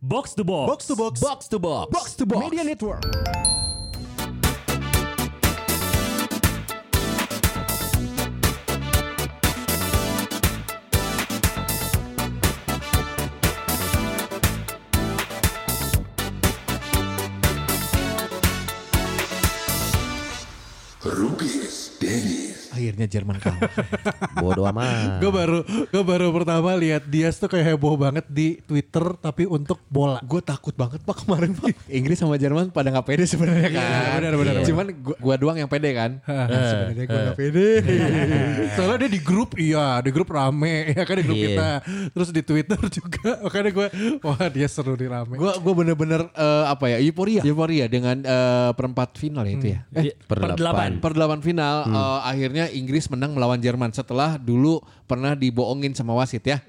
Box to box. Box to box. Box to box. Box to box. Media Network. Rubius Dennis. Akhirnya Jerman kalah. Bodoh amat. Gue baru gue baru pertama lihat Diaz tuh kayak heboh banget di Twitter tapi untuk bola. gue takut banget pak kemarin pak. Inggris sama Jerman pada nggak pede sebenarnya kan. Iya, benar, benar, benar. Cuman gua, gua doang yang pede kan. sebenarnya gue nggak pede. Soalnya dia di grup iya, di grup rame ya kan di grup Iya. kita. Terus di Twitter juga. Makanya gue wah dia seru di rame. Gue gue bener-bener eh, apa ya euforia. Euforia dengan eh, perempat final ya itu ya. Di- Per delapan. Hmm. Per delapan final eh, akhirnya Inggris menang melawan Jerman setelah dulu pernah dibohongin sama wasit ya.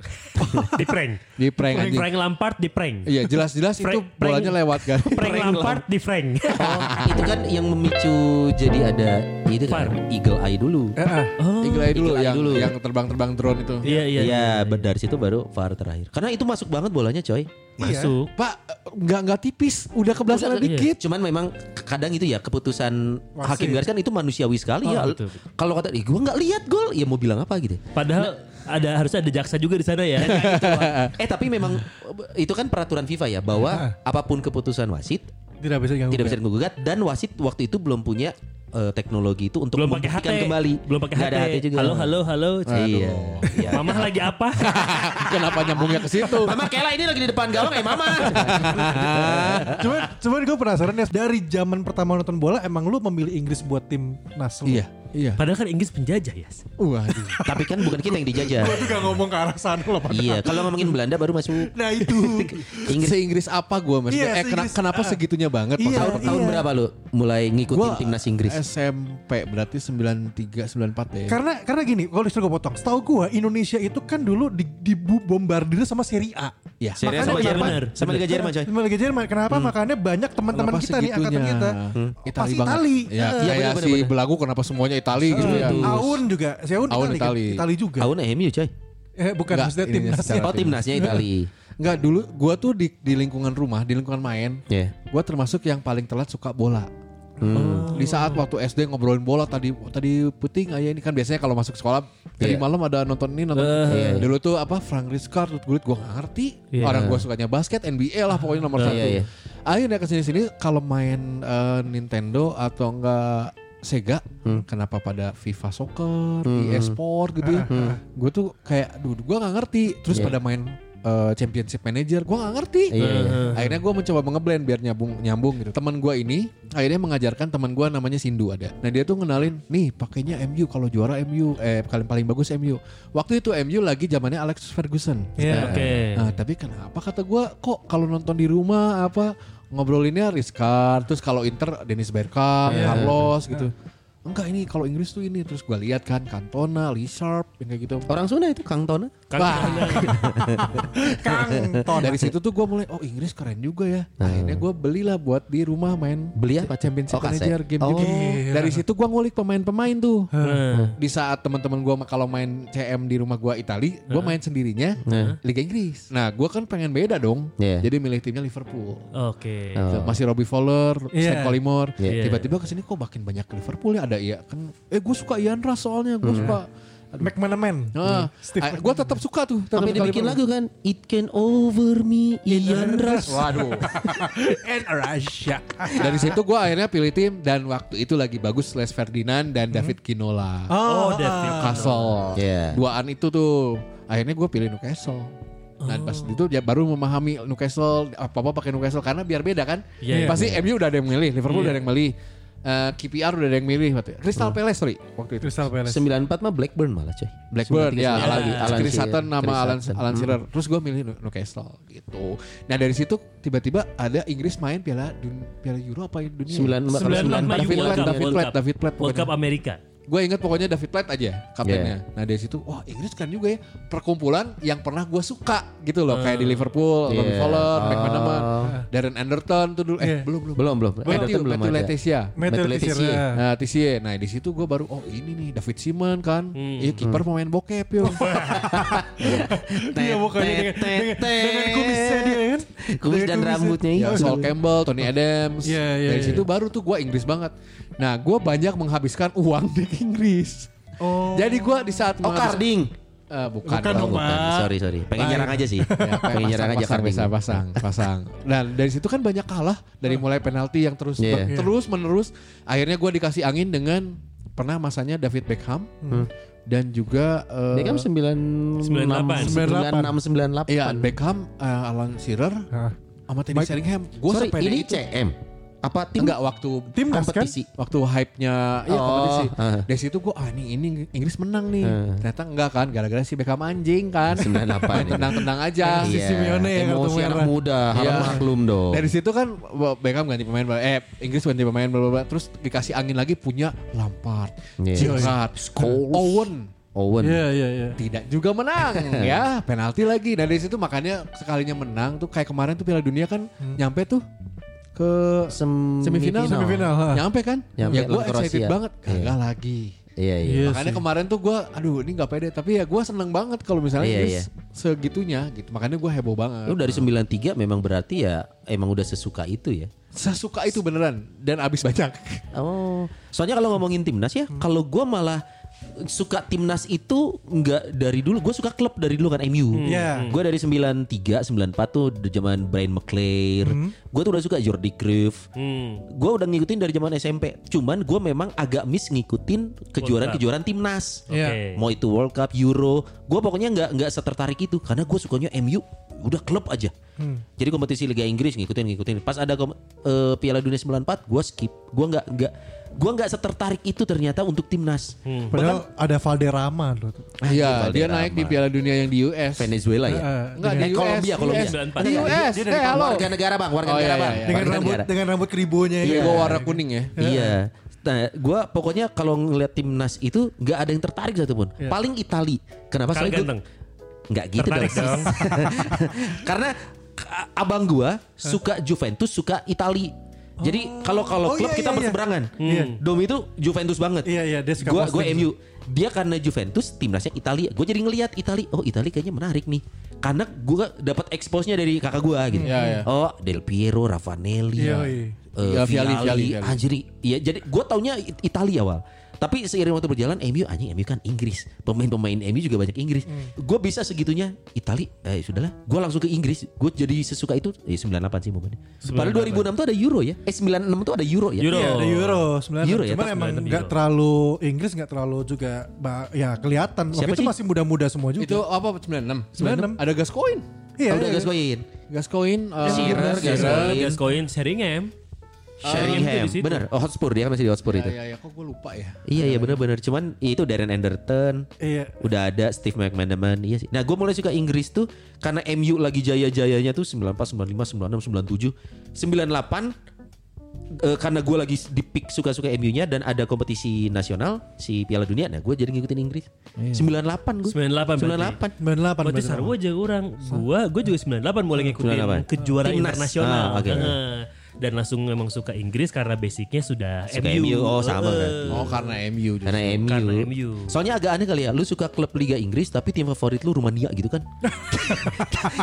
Di prank. Di prank Frank, anjing. Frank Lampard di prank. Iya jelas-jelas itu Prank- prank- bolanya lewat kan. Prank Lampard di prank. Oh, itu kan yang memicu jadi ada itu kan Fire. Eagle Eye dulu. Eh, Oh, Eagle Eye dulu Eagle Eye yang Oh, dulu. yang terbang-terbang drone itu. Iya iya. Iya, ber- dari situ baru VAR terakhir. Karena itu masuk banget bolanya, coy. iya. Masuk. Pak nggak nggak tipis, udah kebelasan Udah, iya. dikit. Cuman memang kadang itu ya keputusan Wasit. hakim garis kan itu manusiawi sekali Oh, ya. betul. Kalau kata "Ih, gua nggak lihat gol, ya mau bilang apa gitu. Padahal ada harusnya ada jaksa juga di sana ya. eh tapi memang itu kan peraturan FIFA ya bahwa apapun keputusan wasit Tidak bisa ganggu. tidak bisa digugat dan wasit waktu itu belum punya eh, teknologi itu untuk Belum pakai membuktikan HT. kembali. Belum pakai Nggak HT. ada HT juga. Halo halo halo. Iya. Iya. Mama lagi apa? Kenapa nyambungnya ke situ? Mama Kela ini lagi di depan gawang ya Mama. cuman cuman gue penasaran ya dari zaman pertama nonton bola emang lu memilih Inggris buat tim nas lu? Iya, iya. Padahal kan Inggris penjajah ya. Wah, Tapi kan bukan kita yang dijajah. Gue juga ngomong ke arah sana loh. Pak. iya, kalau ngomongin Belanda baru masuk. Nah itu. Inggris Se-Inggris apa gue maksudnya? Iya, eh, kena- se-Inggris. kenapa segitunya banget? Iya, maksudnya? tahun, tahun iya. berapa lu mulai ngikutin Gua timnas Inggris? SMP berarti 93 94 ya. Karena karena gini, kalau disuruh gue potong, setahu gue Indonesia itu kan dulu di, dibombardir sama Serie A. ya. Makanya Serius sama kenapa- Jerman? Sama Liga Jerman coy. Sama Liga Jerman. Kenapa makanya banyak teman-teman Hmm. Kenapa kita nih angkatan segitunya? Iya. kita Eh, Hmm. Itali pasti banget. Itali. Ya, Eh, kayak bener, si bener, bener. Belagu kenapa semuanya Itali gitu ya. eh, Aun juga, si Aun, Aun Itali, kan? Itali. Itali juga. Tahun MU coy. Eh bukan Enggak, maksudnya ini timnasnya. secara- Oh timnasnya Itali. Enggak, dulu gua tuh di, di lingkungan rumah, di lingkungan main, Iya. gua termasuk yang paling telat suka bola. Hmm. Di saat waktu SD ngobrolin bola tadi tadi puting ayah ini kan biasanya kalau masuk sekolah tadi Iya. malam ada nonton ini nonton Eh. dulu tuh apa Frank Rijkaard Ruud Gullit gua gak ngerti Iya. orang gua sukanya basket NBA lah pokoknya nomor Iya, satu. iya. Akhirnya kesini sini kalau main eh, Nintendo atau enggak Sega Hmm. kenapa pada FIFA Soccer, e-sport gitu ya. Gue tuh kayak duh gua nggak ngerti. Terus Hmm. Iya. pada main eh, Championship Manager gua nggak ngerti. Iya, iya. Akhirnya gue mencoba mengeblend biar nyambung nyambung gitu. Teman gue ini akhirnya mengajarkan teman gue namanya Sindu ada. Nah dia tuh ngenalin nih pakainya MU kalau juara MU eh paling paling bagus MU. Waktu itu MU lagi zamannya Alex Ferguson. Iya. Nah, Oke. Nah tapi kenapa kata gue kok kalau nonton di rumah apa ngobrolinnya Rizkar terus kalau Inter Dennis Bergkamp, Carlos gitu. Enggak ini kalau Inggris tuh ini terus gue lihat kan Cantona, Lee Sharp yang kayak gitu. Orang Sunda itu Kang Tona. Kan Wah. Kang Iya. Ton. Dari situ tuh gue mulai oh Inggris keren juga ya. Akhirnya gue belilah buat di rumah main Nah. Beli apa? Championship Oh, kaset. Manager game Oh. juga. Dari situ gue ngulik pemain-pemain tuh. Nah, Di saat teman-teman gue kalau main CM di rumah gue Itali, gue main sendirinya Liga Inggris. Nah gue kan pengen beda dong. Iya. Jadi milih timnya Liverpool. Oke. Oh. Gitu. Masih Robbie Fowler, Iya. Stan Collymore. Iya. Tiba-tiba kesini kok makin banyak ke Liverpool ya ada iya kan. Eh gue suka Ian Rush soalnya gue Hmm. suka. McManaman. Nah, Iya. Steve gue tetap suka tuh. tetap suka Sampai dibikin Liverpool. lagu kan It Can Over Me Ian Rush. Waduh. And Russia. Dari situ gue akhirnya pilih tim dan waktu itu lagi bagus Les Ferdinand Hmm. dan David Ginola. Oh, Oh, David. Newcastle. Iya. Duaan itu tuh. Akhirnya gue pilih Newcastle. Dan pas Oh. itu dia baru memahami Newcastle apa-apa pakai Newcastle karena biar beda kan. Iya, iya. Pasti MU udah ada yang milih, Liverpool udah ada yang milih. eh, KPR udah ada yang milih waktu itu. Crystal Palace sorry waktu itu. Crystal Palace. 94 mah Blackburn malah coy. Blackburn ya, 93, iya. sembilan Alan, lagi, Alan Chris Shearer. Sutton nama Chris Alan Hmm. Sutton. Alan Shearer. Terus gue milih Nu- Newcastle gitu. Nah dari situ tiba-tiba ada Inggris main piala dun- piala Euro apa ya, dunia? Sembilan- Sembilan sembilan- nama David World Platt, Cup, David World Platt, Cup. David Platt World pokoknya. Cup Amerika. Gue inget pokoknya David Platt aja kaptennya. Nah dari situ wah Inggris kan juga ya perkumpulan yang pernah gue suka gitu loh kayak di Liverpool, Robbie Iya. Fowler, McManaman. Darren Anderton tuh dulu Iya. eh belum belum. Belum, belum. Matthew, Everton belum Matthew ada. Letizia. Matthew iya. Matthew Letizia. Nah, Tissier. Nah, di situ gue baru oh ini nih David Simon kan. Iya, kiper pemain bokep yo. Iya. Dia mukanya Iya, dengan, dengan, dengan kumisnya dia kan. Dengan Kumis dan kumisnya. rambutnya ya, Saul Campbell, Tony Adams. Iya, iya, Dari iya. situ baru tuh gue Inggris banget. Nah, gue banyak menghabiskan uang di Inggris. Oh. Jadi gue di saat Oh menghabis- karding. Eh, bukan, Bukan dong. dong, Pak. Sorry sorry. Pengen Pak. nyerang aja sih. Ya, Pengen pasang, nyerang aja pasang, karding. bisa pasang, pasang. Dan dari situ kan banyak kalah dari mulai penalti yang terus Iya. ber- terus menerus. Akhirnya gue dikasih angin dengan pernah masanya David Beckham Hmm. dan juga eh, Dia kan 98. 96 98. Iya Beckham, eh, Alan Shearer, Hah. sama Teddy Sheringham. Gue Sorry, sepele ini itu. CM. Apa tim Enggak waktu Timnas kan? kompetisi? waktu hype-nya iya Oh, kompetisi. ah. Dari situ gue ah ini, ini Inggris menang nih. Ternyata enggak kan gara-gara si Beckham anjing kan. ah, Main 98 ini. tenang-tenang aja. Si Iya, Simeone ya, kartu emosi merah. anak muda, harus Iya. maklum dong. Dari situ kan Beckham ganti pemain bla- eh Inggris ganti pemain bla bla bla terus dikasih angin lagi punya Lampard, Iya. Gerrard, Scholes. Owen Owen. Iya iya iya. tidak juga menang ya penalti lagi nah dari situ makanya sekalinya menang tuh kayak kemarin tuh Piala Dunia kan Hmm. nyampe tuh ke Sem- semifinal, Semifinal, ha. nyampe kan Nyampe ya gue lawan excited Kroasia. banget Iya. kagak lagi Iya iya. Iya makanya sih. kemarin tuh gue aduh ini nggak pede tapi ya gue seneng banget kalau misalnya Iya, Inggris iya. segitunya gitu makanya gue heboh banget Lu dari 93 memang berarti ya emang udah sesuka itu ya. sesuka itu beneran dan abis banyak Oh, soalnya kalau ngomongin timnas ya, kalau gua malah suka timnas itu nggak dari dulu. Gue suka klub dari dulu kan MU. Iya. Gue dari 93, 94 tuh di zaman Brian McClair. Gue tuh udah suka Jordi Cruyff. Hmm. Gue udah ngikutin dari zaman SMP. Cuman gue memang agak miss ngikutin kejuaraan-kejuaraan timnas. Oke. Iya. Mau itu World Cup, Euro, gue pokoknya nggak nggak setertarik itu karena gue sukanya MU udah klub aja. Jadi kompetisi Liga Inggris ngikutin ngikutin. Pas ada kom- eh, Piala Dunia 94, gue skip. Gue nggak nggak gue nggak setertarik itu ternyata untuk timnas. Hmm. Padahal ada Valderrama loh. tuh. Hmm. Iya, Valderrama. dia naik di Piala Dunia yang di US. Venezuela ya. Heeh. Enggak, di Eh, US. Kolombia, Kolombia. US. Sembilan empat. Di US. Dia dari Eh, halo. Warga negara bang, warga Oh, iya, negara iya, bang. iya. Dengan Warga rambut negara. dengan rambut keribonya Iya, ya. gua warna kuning ya. Iya. Nah, gue pokoknya kalau ngeliat timnas itu nggak ada yang tertarik satupun. Paling Itali. Kenapa? Soalnya Karena gua- ganteng. nggak gitu Tertarik dong. Karena k- abang gua suka Juventus, suka Itali. Jadi kalau Oh, kalau klub iya, kita iya, iya. berseberangan. Iya. Dom itu Juventus banget. Iya, iya, dia suka Gua gua posting. MU. Dia karena Juventus timnasnya Italia. Gue jadi ngelihat Italia. Oh, Italia kayaknya menarik nih. Karena gua dapat expose-nya dari kakak gua gitu. Iya, iya. Oh, Del Piero, Ravanelli. Iya, iya. eh, Iya, Vialli, Vialli, Vialli, Vialli. anjir iya jadi gue taunya It- Italia awal tapi seiring waktu berjalan MU anjing MU kan Inggris pemain-pemain MU juga banyak Inggris gue bisa segitunya Itali eh sudahlah gue langsung ke Inggris gue jadi sesuka itu eh 98 sih momennya padahal 2006 tuh ada Euro ya eh 96 tuh ada Euro ya Euro. Iya, ada Euro sebenarnya. Euro ya, Cuman pas emang 96 nggak Euro. terlalu Inggris nggak terlalu juga ba- ya kelihatan. Waktu Siapa itu sih? masih muda-muda semua juga. Itu apa 96? 96. Ada Gascoigne. iya, udah iya. Gascoigne Gascoigne eh, Shearer, Shearer. Gascoigne. Gas koin Sheringham. Sheringham di situ. bener oh, Hotspur dia kan masih di Hotspur Ya, itu ya, ya, kok gue lupa ya. Iya iya benar-benar cuman itu Darren Anderton. Iya. Udah ada Steve McManaman. Iya sih. Nah, gue mulai suka Inggris tuh karena MU lagi jaya-jayanya tuh 94, 95, 96, 97, 98 eh, karena gue lagi di peak suka-suka MU-nya dan ada kompetisi nasional si Piala Dunia, nah gue jadi ngikutin Inggris. 98 gue. 98 berarti. 98. 98 Berarti bener. sarwo aja orang. Gua gua juga 98 mulai ngikutin 98. kejuaraan Timnas. internasional. Ah, oke. Heeh. Dan langsung memang suka Inggris karena basicnya sudah Suka MU. Oh, sama Heeh. berarti. Oh, karena MU juga. Karena MU. Karena MU. Soalnya agak aneh kali ya, lu suka klub Liga Inggris tapi tim favorit lu Rumania gitu kan?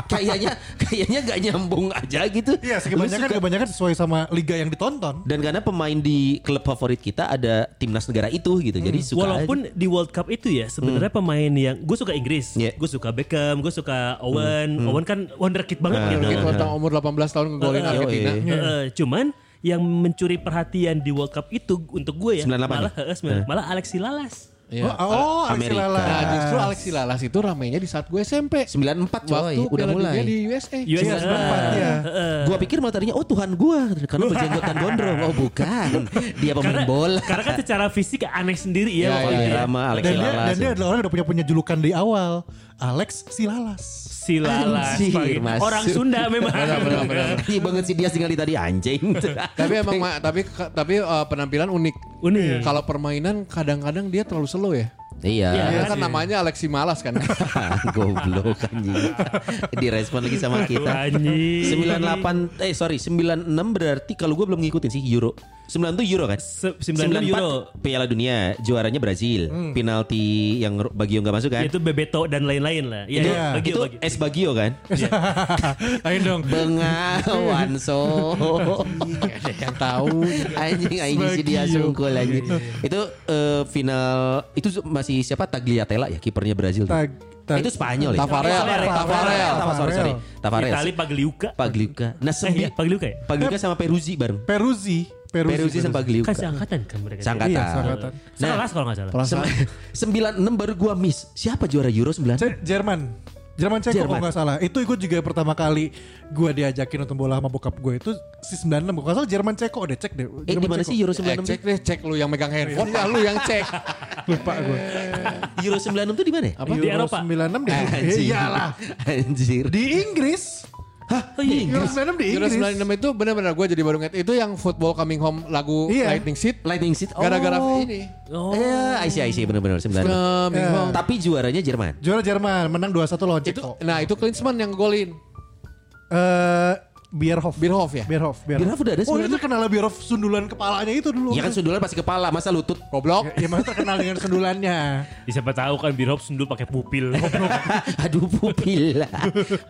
kayaknya kayaknya gak nyambung aja gitu. Iya, Lu kebanyakan kebanyakan sesuai sama liga yang ditonton. dan karena pemain di klub favorit kita ada timnas negara itu gitu jadi suka Hmm, Walaupun di World Cup itu ya sebenarnya pemain yang gue suka Inggris, Iya. gue suka Beckham, gue suka Owen, Owen kan wonderkid banget gitu. Gitu tentang umur 18 tahun ngegolin Heeh. Argentina. Yoi. Heeh, cuman yang mencuri perhatian di World Cup itu untuk gue ya 98. malah heeh, sembilan- malah Alexi Lalas. Iya. Oh, oh Alexi Amerika. Lalas. Nah, justru Alexi Lalas itu ramainya di saat gue SMP. 94 Waktu coy udah Piala Dunia mulai di USA. US, Iya, 94 ya. gua pikir malah tadinya oh Tuhan gua karena berjenggotan gondrong oh bukan dia pemain Karena, bola Oh, karena kan secara fisik aneh sendiri ya. Iya, waktu iya, itu ya. Lama Alexi Dan dia, Lalas dan dia adalah orang yang udah punya punya julukan di awal, Alex Silalas. Si Lalas. Anjir, pagi. Mas. Orang Sunda memang. Iya banget sih dia tinggal di tadi anjing tapi emang Ma, tapi tapi uh, penampilan unik. Unik. Kalau permainan kadang-kadang dia terlalu slow ya. Iya. Iya. Dia kan namanya Alexi Malas kan. Goblok anjing. Direspon lagi sama kita. Gitu, Anjing. 98 eh sorry 96 berarti kalau gue belum ngikutin sih Euro. 92 Euro kan? Se- 96 Euro. Hmm. Piala Dunia, juaranya Brazil. Penalti yang Ro- Bagio nggak masuk kan? Itu Bebeto dan lain-lain lah. Iya, Itu- iya, Bagio, itu Bagio. es Bagio kan? Ayo dong. Bengawan so. Ada yang tahu. anjing anjing si dia sungkul anjing. Itu eh, final itu masih siapa Tagliatella ya kipernya Brazil. tuh. Tag, tag- itu Spanyol ya. Tafarel, Tafarel, Tafarel. Tafarel. Sorry, sorry. Tafarel. Itali Pagliuca. Pagliuca. Nah, Eh, iya, sembi Pagliuca ya? Pagliuca sama Peruzzi bareng. Peruzzi. Peruzzi sama Pagliuca. Kan seangkatan kan mereka. Seangkatan. Iya, seangkatan. Nah, Sekelas kalau nggak salah. Perasaan sem- 96 baru gua miss. Siapa juara Euro 9? Ce- Jerman. Jerman Ceko Jerman. kalau nggak salah. Itu ikut juga pertama kali gue diajakin nonton bola sama bokap gue itu si 96. Kalau nggak salah Jerman Ceko deh cek deh. Eh, di mana sih Euro Eh, 96? cek deh, cek lu yang megang handphone ya lu yang cek. Lupa gue. Euro 96 tuh di mana? ya? Apa? Di Eropa? 96 deh. Iya, Anjir. Iyalah. Anjir. Di Inggris. Oh iya. Euro 96 di Euro Inggris. 96 itu benar-benar gue jadi baru ngerti itu yang Football Coming Home lagu Iya. Lightning Seed Lightning Seed. Oh. gara-gara ini. Oh. Iya, IC IC benar-benar 96. Coming home. Tapi juaranya Jerman. Juara Jerman menang 2-1 lawan Itu Ceko. nah itu Klinsmann yang golin. Eh Bierhoff. Bierhoff ya? Bierhoff. Bierhoff udah ada Oh sebenarnya. itu terkenal lah Bierhoff sundulan kepalanya itu dulu. Ya kan sundulan pasti kepala, masa lutut. Goblok. Ya, ya maksudnya terkenal dengan sundulannya. Ya, siapa tahu kan Birop sundul pakai pupil. Aduh pupil.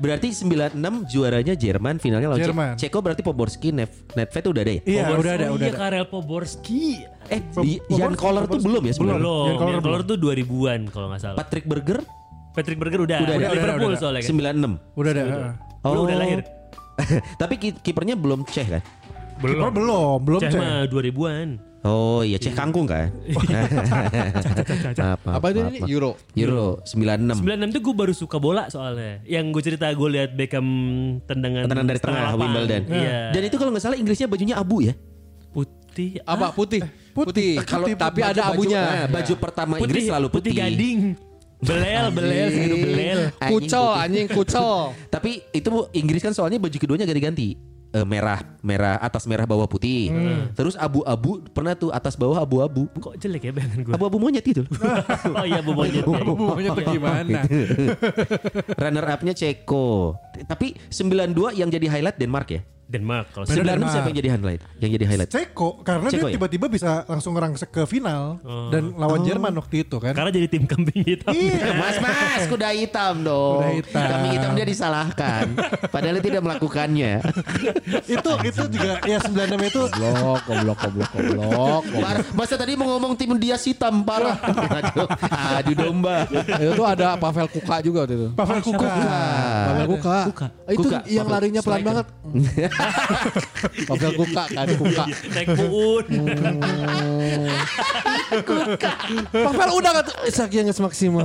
berarti 96 juaranya Jerman, finalnya lawan Jerman. Ceko. Ceko berarti Poborski, Nef- Nedved udah ada ya? Iya Poborski- udah ada oh udah iya, ada. Karel Poborski. Eh, di- Jan Koller tuh belum ya Belum. sebenarnya? Yang Yang Koller Koller tuh 2000-an kalau nggak salah. Patrick Berger Patrick Berger udah. Oh, Udah, udah, Liverpool udah, udah. soalnya kan. 96. Udah ada. Lu udah lahir? Oh. Tapi ki- kipernya belum Ceh kan? Belum belum belum Cah Cek. mah 2000-an. Oh iya Ceh kangkung kan? Maaf, maaf, Apa itu maaf, ini? maaf. Euro. Euro 96. 96 tuh gue baru suka bola soalnya. Yang gue cerita gue lihat Beckham tendangan Tendangan dari tengah lapangan. Wimbledon. Iya. Dan itu kalau nggak salah Inggrisnya bajunya abu ya? putih ah, Apa Eh, putih? Putih. Putih. Kalau Putih, tapi baju- Iya. ada Baju, abunya. eh, baju pertama putih, Inggris selalu putih. gading. Belel, belel, segitu belel. Anjing Kucel putih. Eh, anjing kucel. Tapi itu Inggris kan soalnya baju keduanya ganti-ganti. Eh, merah, merah atas merah bawah putih. Hmm. Terus abu-abu pernah tuh atas bawah abu-abu. Kok jelek ya bayangan gue? Hmm. Abu-abu monyet itu. oh iya, bu monyet. Bumbunya tuh gimana? Runner upnya Ceko. T- Tapi 92 yang jadi highlight Denmark ya. Denmark kalau Bener, 96 Denmark. siapa yang jadi highlight? Yang jadi highlight. Ceko karena Nah, Ceko ya? Oh. dia tiba-tiba bisa langsung ngerangsek ke final dan lawan Jerman waktu itu kan. Karena jadi tim kambing hitam. Iya. Ya, Mas Mas kuda hitam dong. Kuda hitam. Kami hitamnya disalahkan. Padahal tidak melakukannya. itu itu juga ya 96 itu Goblok, goblok, goblok, goblok. goblok. Parah. Masa tadi mau ngomong tim dia hitam parah. Aduh, adu domba. itu tuh ada Pavel Kuka juga waktu itu. Pavel Kuka. Pavel Kuka. Kuka. Itu Kuka. yang Pavel larinya pelan Striker. banget. Pavel Kuka kan Kuka. Naik puun. Hmm. Pavel udah kan sakitnya nggak semaksimal.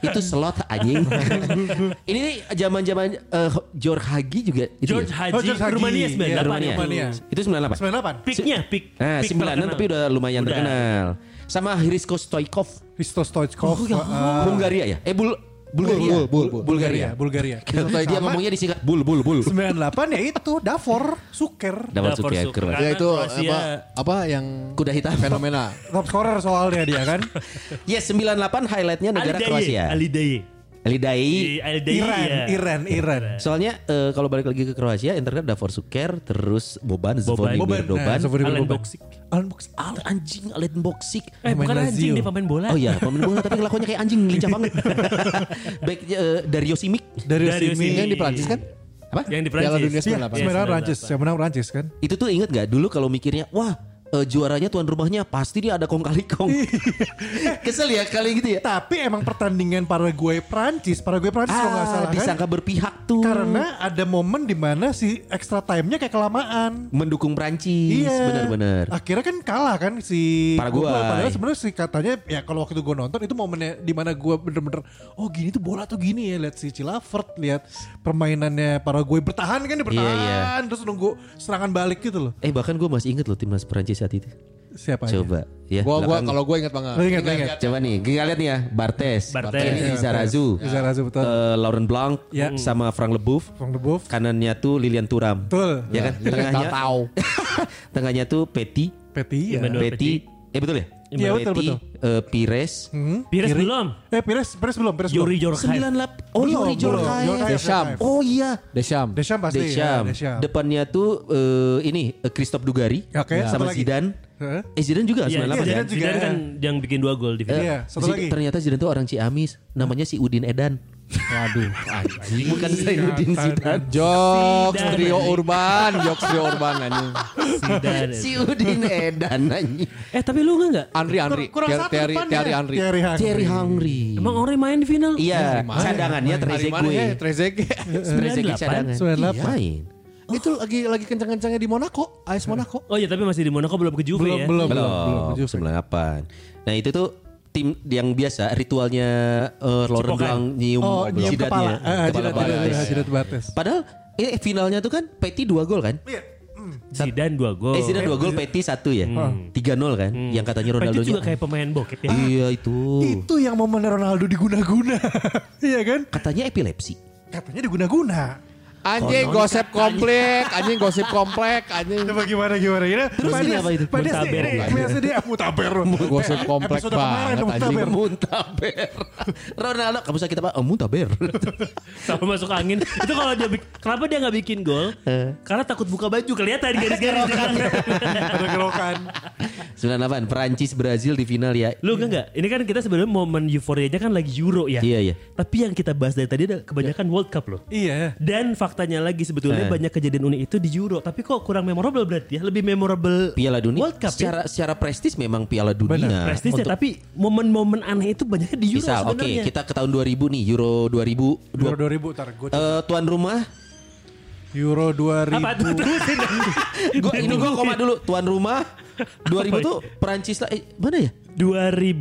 itu slot anjing. Ini nih zaman-zaman eh, George Hagi juga itu. George ya? Haji, George Hagi. Rumania Iya, 98 Rumania. Rumania. Itu 98. 98. Peaknya, peak. Nah, peak 96 tapi udah lumayan Udah. terkenal. Sama Hrisko Stoikov. Risto Stoichkov. uh, Ah. Bulgaria ya? Eh Bul Bulgaria. Bul, bul, bul. Bulgaria. Bulgaria. Dia ngomongnya disingkat bul bul bul. 98 ya itu Davor Suker. Dapat Davor suket Suker. keren. ya itu Kroasia. apa apa yang Kuda hitam. fenomena. Top scorer soalnya dia kan. Yes, 98 highlightnya negara Alidaye, Kroasia. Alidaye. Elidai. Alidaye. Iran, ya. Iran, Iran. Soalnya eh, kalau balik lagi ke Kroasia, internet Davor Suker, terus Boban, Zvonimir Boban. Doban. Nah, Zvonimir Alan Boban. Boksik. Alan Boksik. Al anjing Alen Boksik. Eh Pemain bukan anjing Lazio. dia pemain bola. Oh iya, pemain bola tapi kelakuannya kayak anjing lincah banget. Baik eh, Dario Simic. Dari sini. Dario Simic. Yang di Prancis kan? Apa? Yang di Prancis. Piala Dunia Iya, 98. Iya, 98 Prancis. Yang menang Prancis kan. Itu tuh inget gak dulu kalau mikirnya, wah eh, juaranya tuan rumahnya pasti dia ada kong kali kong. Kesel ya kali gitu ya. Tapi emang pertandingan Paraguay Prancis, Paraguay Prancis kalau Ah, nggak salah kan. Ah, disangka berpihak tuh. Karena ada momen di mana si extra time-nya kayak kelamaan. mendukung Prancis Iya. benar-benar. Akhirnya kan kalah kan si Paraguay. Padahal sebenarnya sih katanya ya kalau waktu gue nonton itu momennya di mana gue bener-bener oh gini tuh bola tuh gini ya lihat si Cilavert lihat permainannya Paraguay bertahan kan Iya, dia bertahan terus nunggu serangan balik gitu loh. Eh bahkan gue masih inget loh timnas Prancis saat itu. Siapa aja? Coba ya. Gua gua belakang. kalau gua ingat banget. Lu ingat, lu ingat. Coba nih, kita lihat nih ya, Bartes, Bartes. Kenny Lizarazu, Iya, Lizarazu, betul. eh, Laurent Blanc, Ya. sama Frank Leboeuf, Frank de Boeuf. kanannya tuh Lilian Turam, Betul. Iya. Iya ya kan? Tengahnya Tengahnya, tengahnya tuh Peti, Peti ya. Emmanuel Peti, eh betul ya? Iya betul Betti, betul. eh, Pires. Hmm? Pires Kiri. belum. Eh Pires, Pires belum, Pires Yuri Iya, belum. Jorkaev. 98. Oh, Belum, Yuri belum. Jorkaev. Jorkaev, Desham. Jorkaev. Oh iya. Desham. Desham pasti. Desham. ya, Desham. Ya, Depannya tuh eh, ini eh, Christoph Dugari Oke, satu sama lagi. Zidane. Heeh. Eh Zidane juga 98 Iya, Zidane kan? Zidane, juga. Zidane kan yang bikin dua gol di Iya, final. satu Zid- lagi. Ternyata Zidane tuh orang Ciamis, namanya si Udin Edan. Waduh. Bukan Zainuddin Zidane. Jokes Zidane. trio urban, jokes trio urban anjing. Zidane. Si Udin Edan anjing. Eh tapi lu nggak nggak? Andri Andri, Kurang Tiari satu ya? Tiari, depannya. Tiari Andri. Thierry Henry. Thierry Hungry. Emang orang main di final? Iya, Dari mana? cadangannya Dari mana ya? Trezeguet. Trezeguet. Trezeguet 98. cadangan. Iya, 98. Iyain. Itu lagi lagi kencang-kencangnya di Monaco, AS Monaco. Oh iya tapi masih di Monaco belum ke Juve Belum, ya. belum, belum, belum. Belum, 98. Nah itu tuh tim yang biasa ritualnya eh, Laurent Cipokan. Blanc nyium Oh, nyium kepala. Eh, jidatnya. jidat, jidat, batas. jidat, jidat batas. Padahal eh, finalnya tuh kan Peti 2 gol kan? Iya. Zidane dua gol. Eh Zidane 2 gol, Peti 1 ya. 3-0 kan? Yang katanya Itu Ronaldo juga kayak pemain bokep ya. Iya itu. Itu yang momen Ronaldo diguna-guna. Iya kan? Katanya epilepsi. Katanya diguna-guna. Anjing gosip komplek, anjing gosip komplek, anjing Coba gimana gimana ya? Terus ini apa itu? Pada sih Mutaber. ini, biasa dia mutaber. Gosip Eh, komplek episode kemarin banget, mutaber. anjing. Muntaber. Ronaldo kamu sakit apa? Oh, Muntaber. Sama masuk angin. Itu kalau dia bik- kenapa dia nggak bikin gol? Karena takut buka baju kelihatan garis-garis di kanan. Ada kerokan. 98 Perancis Brazil di final ya. Lu enggak enggak? Ini kan kita sebenarnya momen euforianya kan lagi Euro ya. Iya, iya. Tapi yang kita bahas dari tadi ada kebanyakan World Cup loh. Iya. Dan faktanya lagi Eh. sebetulnya banyak kejadian unik itu di Euro, tapi kok kurang memorable berarti ya? Lebih memorable Piala Dunia World Cup secara ya. secara prestis memang Piala Dunia. Prestisnya, Untuk- tapi momen-momen aneh itu banyaknya di Euro misal oke sebenarnya. kita ke tahun 2000 nih Euro 2000 Euro 2000 ntar gue cek. Eh, tuan rumah Euro 2000. Apa tuh terusin? gua ini gua koma dulu tuan rumah 2000 tuh Perancis lah eh, mana ya 2000,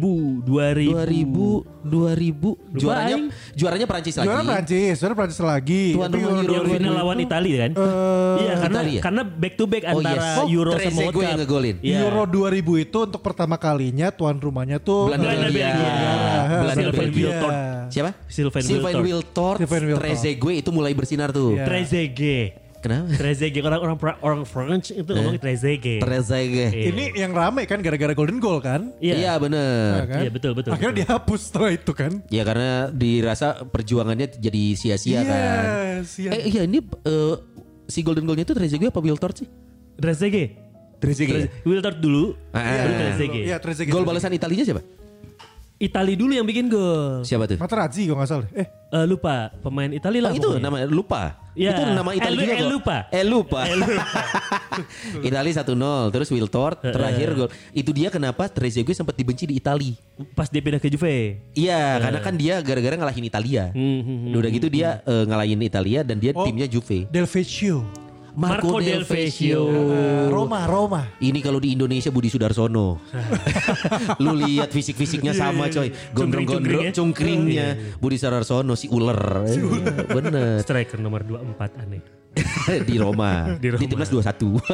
2000. 2000 2000 juaranya aing. juaranya Perancis lagi Juara Prancis, juara Prancis lagi. Tuan Tapi rumah Euro Yang 2000 final lawan Italia kan? Iya karena Eh, Italia. karena back to back Oh, yes. antara Oh, Euro sama Trezeguet World Cup. yang ngegolin. Iya. Euro 2000 itu untuk pertama kalinya tuan rumahnya tuh Belanda iya. Belanda, Iya. Belgia Belgia. Belanda Belanda, Belgia Belgia. siapa Sylvain Wiltord. Wiltord Sylvain Wiltord. Trezeguet itu mulai bersinar tuh Iya. Trezeguet. kenapa Trezeguet orang-orang pra- orang French Eh. itu ngomong Trezeguet. Trezeguet Iya. Ini yang rame kan gara-gara golden goal kan? iya Iya. bener kan? Iya, betul, betul, Akhirnya dihapus setelah itu kan? Ya karena dirasa perjuangannya jadi sia-sia kan. Iya. Eh iya ini eh, si golden goalnya itu Trezeguet apa Wiltord sih? Trezeguet. Trezeguet. Wiltord dulu, Iya. Ah. baru Trezeguet. Iya, Trezeguet. Gol balasan Italinya siapa? Itali dulu yang bikin gol. Siapa tuh? Materazzi kalau nggak salah. Eh, Eh, lupa pemain Itali lah. Oh, itu pokoknya. namanya lupa. Iya. Itu nama Italia Eh, lu- juga eh, kok. lupa. Eh lupa. Eh, lupa. Italia 1-0 terus Wiltord terakhir gol. Itu dia kenapa Trezeguet sempat dibenci di Itali. Pas dia pindah ke Juve. Iya, karena kan dia gara-gara ngalahin Italia. Udah gitu dia eh, ngalahin Italia dan dia timnya Juve. Del Vecchio. Marco Del Oh. Vecchio. Eh, Roma, Roma. Ini kalau di Indonesia Budi Sudarsono. Lu lihat fisik-fisiknya sama coy. Gondrong-gondrong Cungkring-cungkring ya. cungkringnya Budi Sudarsono si ular. Eh, Bener. Striker nomor 24 aneh. di Roma. Di Roma. Di timnas 21.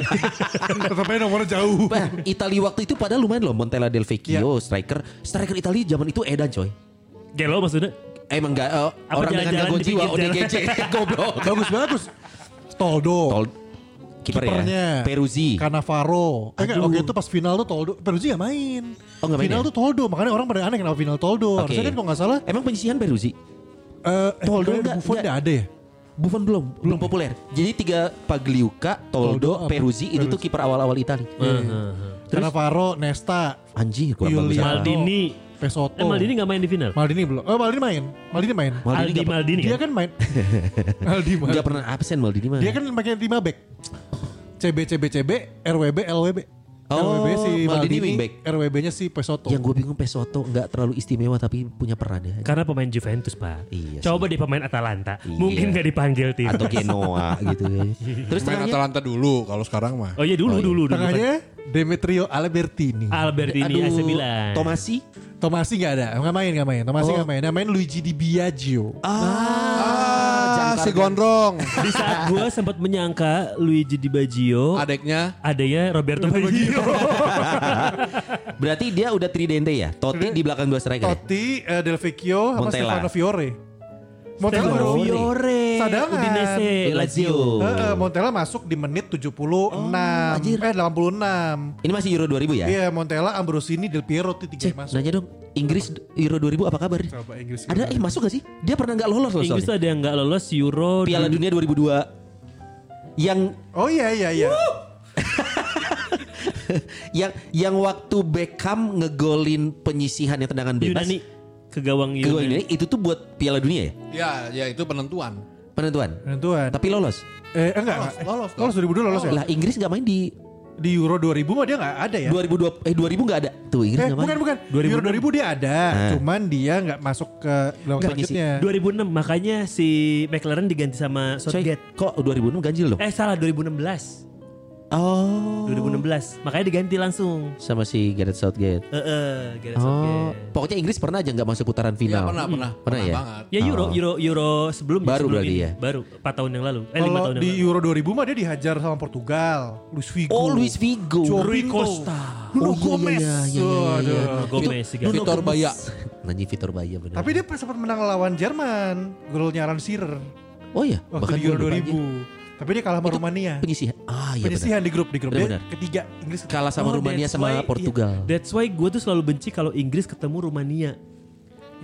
Tapi nomornya jauh. Bah, Italia waktu itu padahal lumayan loh Montella Del Vecchio striker. Striker Italia zaman itu edan coy. Gelo maksudnya? Emang gak eh, Apa orang dengan jalan-jalan gangguan di jiwa pinggir ODGJ goblok. bagus, bagus. Toldo. Tol kiper ya. Kipernya. Peruzzi. Cannavaro. Eh, enggak, Aduh. waktu itu pas final tuh Toldo. Peruzzi nggak main. Oh, nggak main Final ya? tuh Toldo. Makanya orang pada aneh kenapa final Toldo. Oke. Harusnya kan kalau nggak salah. Emang penyisihan eh, Peruzzi? eh, Buffon Toldo nggak- Buffon nggak- nggak ada ya? Buffon belum, belum populer. Jadi tiga Pagliuca, Toldo, Toldo, apa? Peruzzi itu tuh kiper awal-awal Itali. Eh, Cannavaro, Nesta, Anjir, kurang Yulia. bagus. apa. Maldini. Pesoto. Oh. Eh Maldini gak main di final? Maldini belum. Oh, Maldini main. Maldini main. Maldini Aldi nggak pe- Maldini Dia kan? kan main. Aldi main. nggak pernah absen Maldini mah. Dia kan pakai 5 back. CB CB CB, RWB LWB. Oh, LWB si Maldini Ya, Maldini, wingback. RWB-nya si Pesoto. yang gue bingung Pesoto nggak terlalu istimewa tapi punya peran ya. Karena pemain Juventus pak. Iya sih. Coba di pemain Atalanta. Iya. Mungkin gak dipanggil tim. Atau Genoa gitu. ya. Terus Main tengahnya Atalanta dulu kalau sekarang mah. Oh iya dulu, dulu, dulu. Tengahnya Demetrio Albertini. Ah. Albertini AC Milan. Tomasi. Tomasi nggak ada, nggak main nggak main. Oh. Tomasi nggak main, yang main Luigi Di Biagio. Ah, si Gondrong. Di saat gue sempat menyangka Luigi Di Baggio Adeknya adanya Roberto Baggio. Berarti dia udah tridente ya. Totti di belakang dua striker. ya? Totti, eh, Del Vecchio, sama Montella. Stefano Fiore. Montella Stefano baru Fiore, Sadangan. Udinese, Eh, Lazio. Heeh, Montella masuk di menit 76 Oh, anjir. eh 86. Ini masih Euro 2000 ya? Iya, Montella, Ambrosini, Del Piero itu tiga Cek, yang masuk. nanya dong, Inggris Euro 2000 apa kabar? Coba Inggris. Ada eh masuk gak sih? Dia pernah nggak lolos loh soalnya. Inggris tuh gitu ada yang nggak lolos Euro Oh, Piala dan- Dunia 2002 yang Oh iya iya iya. yang yang waktu Beckham ngegolin penyisihan yang tendangan bebas Yunani ke gawang ke gawang Yunani. Yunani, itu tuh buat Piala Dunia ya Ya, ya itu penentuan. penentuan. Penentuan. Hmm. Tapi lolos. Eh enggak, lolos. Lolos, Lolos 2002 lolos ya. Lah Inggris nggak main di Di Euro 2000 mah dia enggak ada ya. 2002 eh 2000 nggak ada tuh Inggris Eh nggak bukan main. bukan. Euro 2000 dia ada, cuman dia enggak masuk ke lawan Ah. Enggak, selanjutnya. 2006 makanya si McLaren diganti sama Coy, Southgate. kok 2006 ganjil dong? Eh salah 2016. Oh. 2016. Makanya diganti langsung. Sama si Gareth Southgate. Heeh, Gareth Oh, Southgate. pokoknya Inggris pernah aja nggak masuk putaran Iya final. pernah, pernah, Pernah pernah, ya? banget. Ya Euro, Oh. Euro, Euro sebelum Baru sebelum berarti ini. ya? Baru 4 tahun yang lalu. Eh 5 Kalau tahun yang di lalu. Euro 2000 mah dia dihajar sama Portugal, Luis Figo. Oh, Luis Figo. Rui Jorginho. Costa. Nuno Oh, iya, Gomez. iya, iya, iya, iya, iya. Aduh. Gomez Itu- tiga. Nuno Vitor Gomez. Baya. Nanya Vitor Baya bener. Tapi dia pas sempat menang lawan Jerman, golnya Aaron Shearer oh iya, waktu di gua Euro lupa 2000. aja. Tapi dia kalah sama Rumania. Penyisihan. Ah iya benar. Penyisihan di grup di grup Benar, dia benar. ketiga Inggris ketiga. Kalah sama Oh, Rumania that's sama why- Portugal. iya. That's why gue tuh selalu benci kalau Inggris ketemu Rumania. Nah,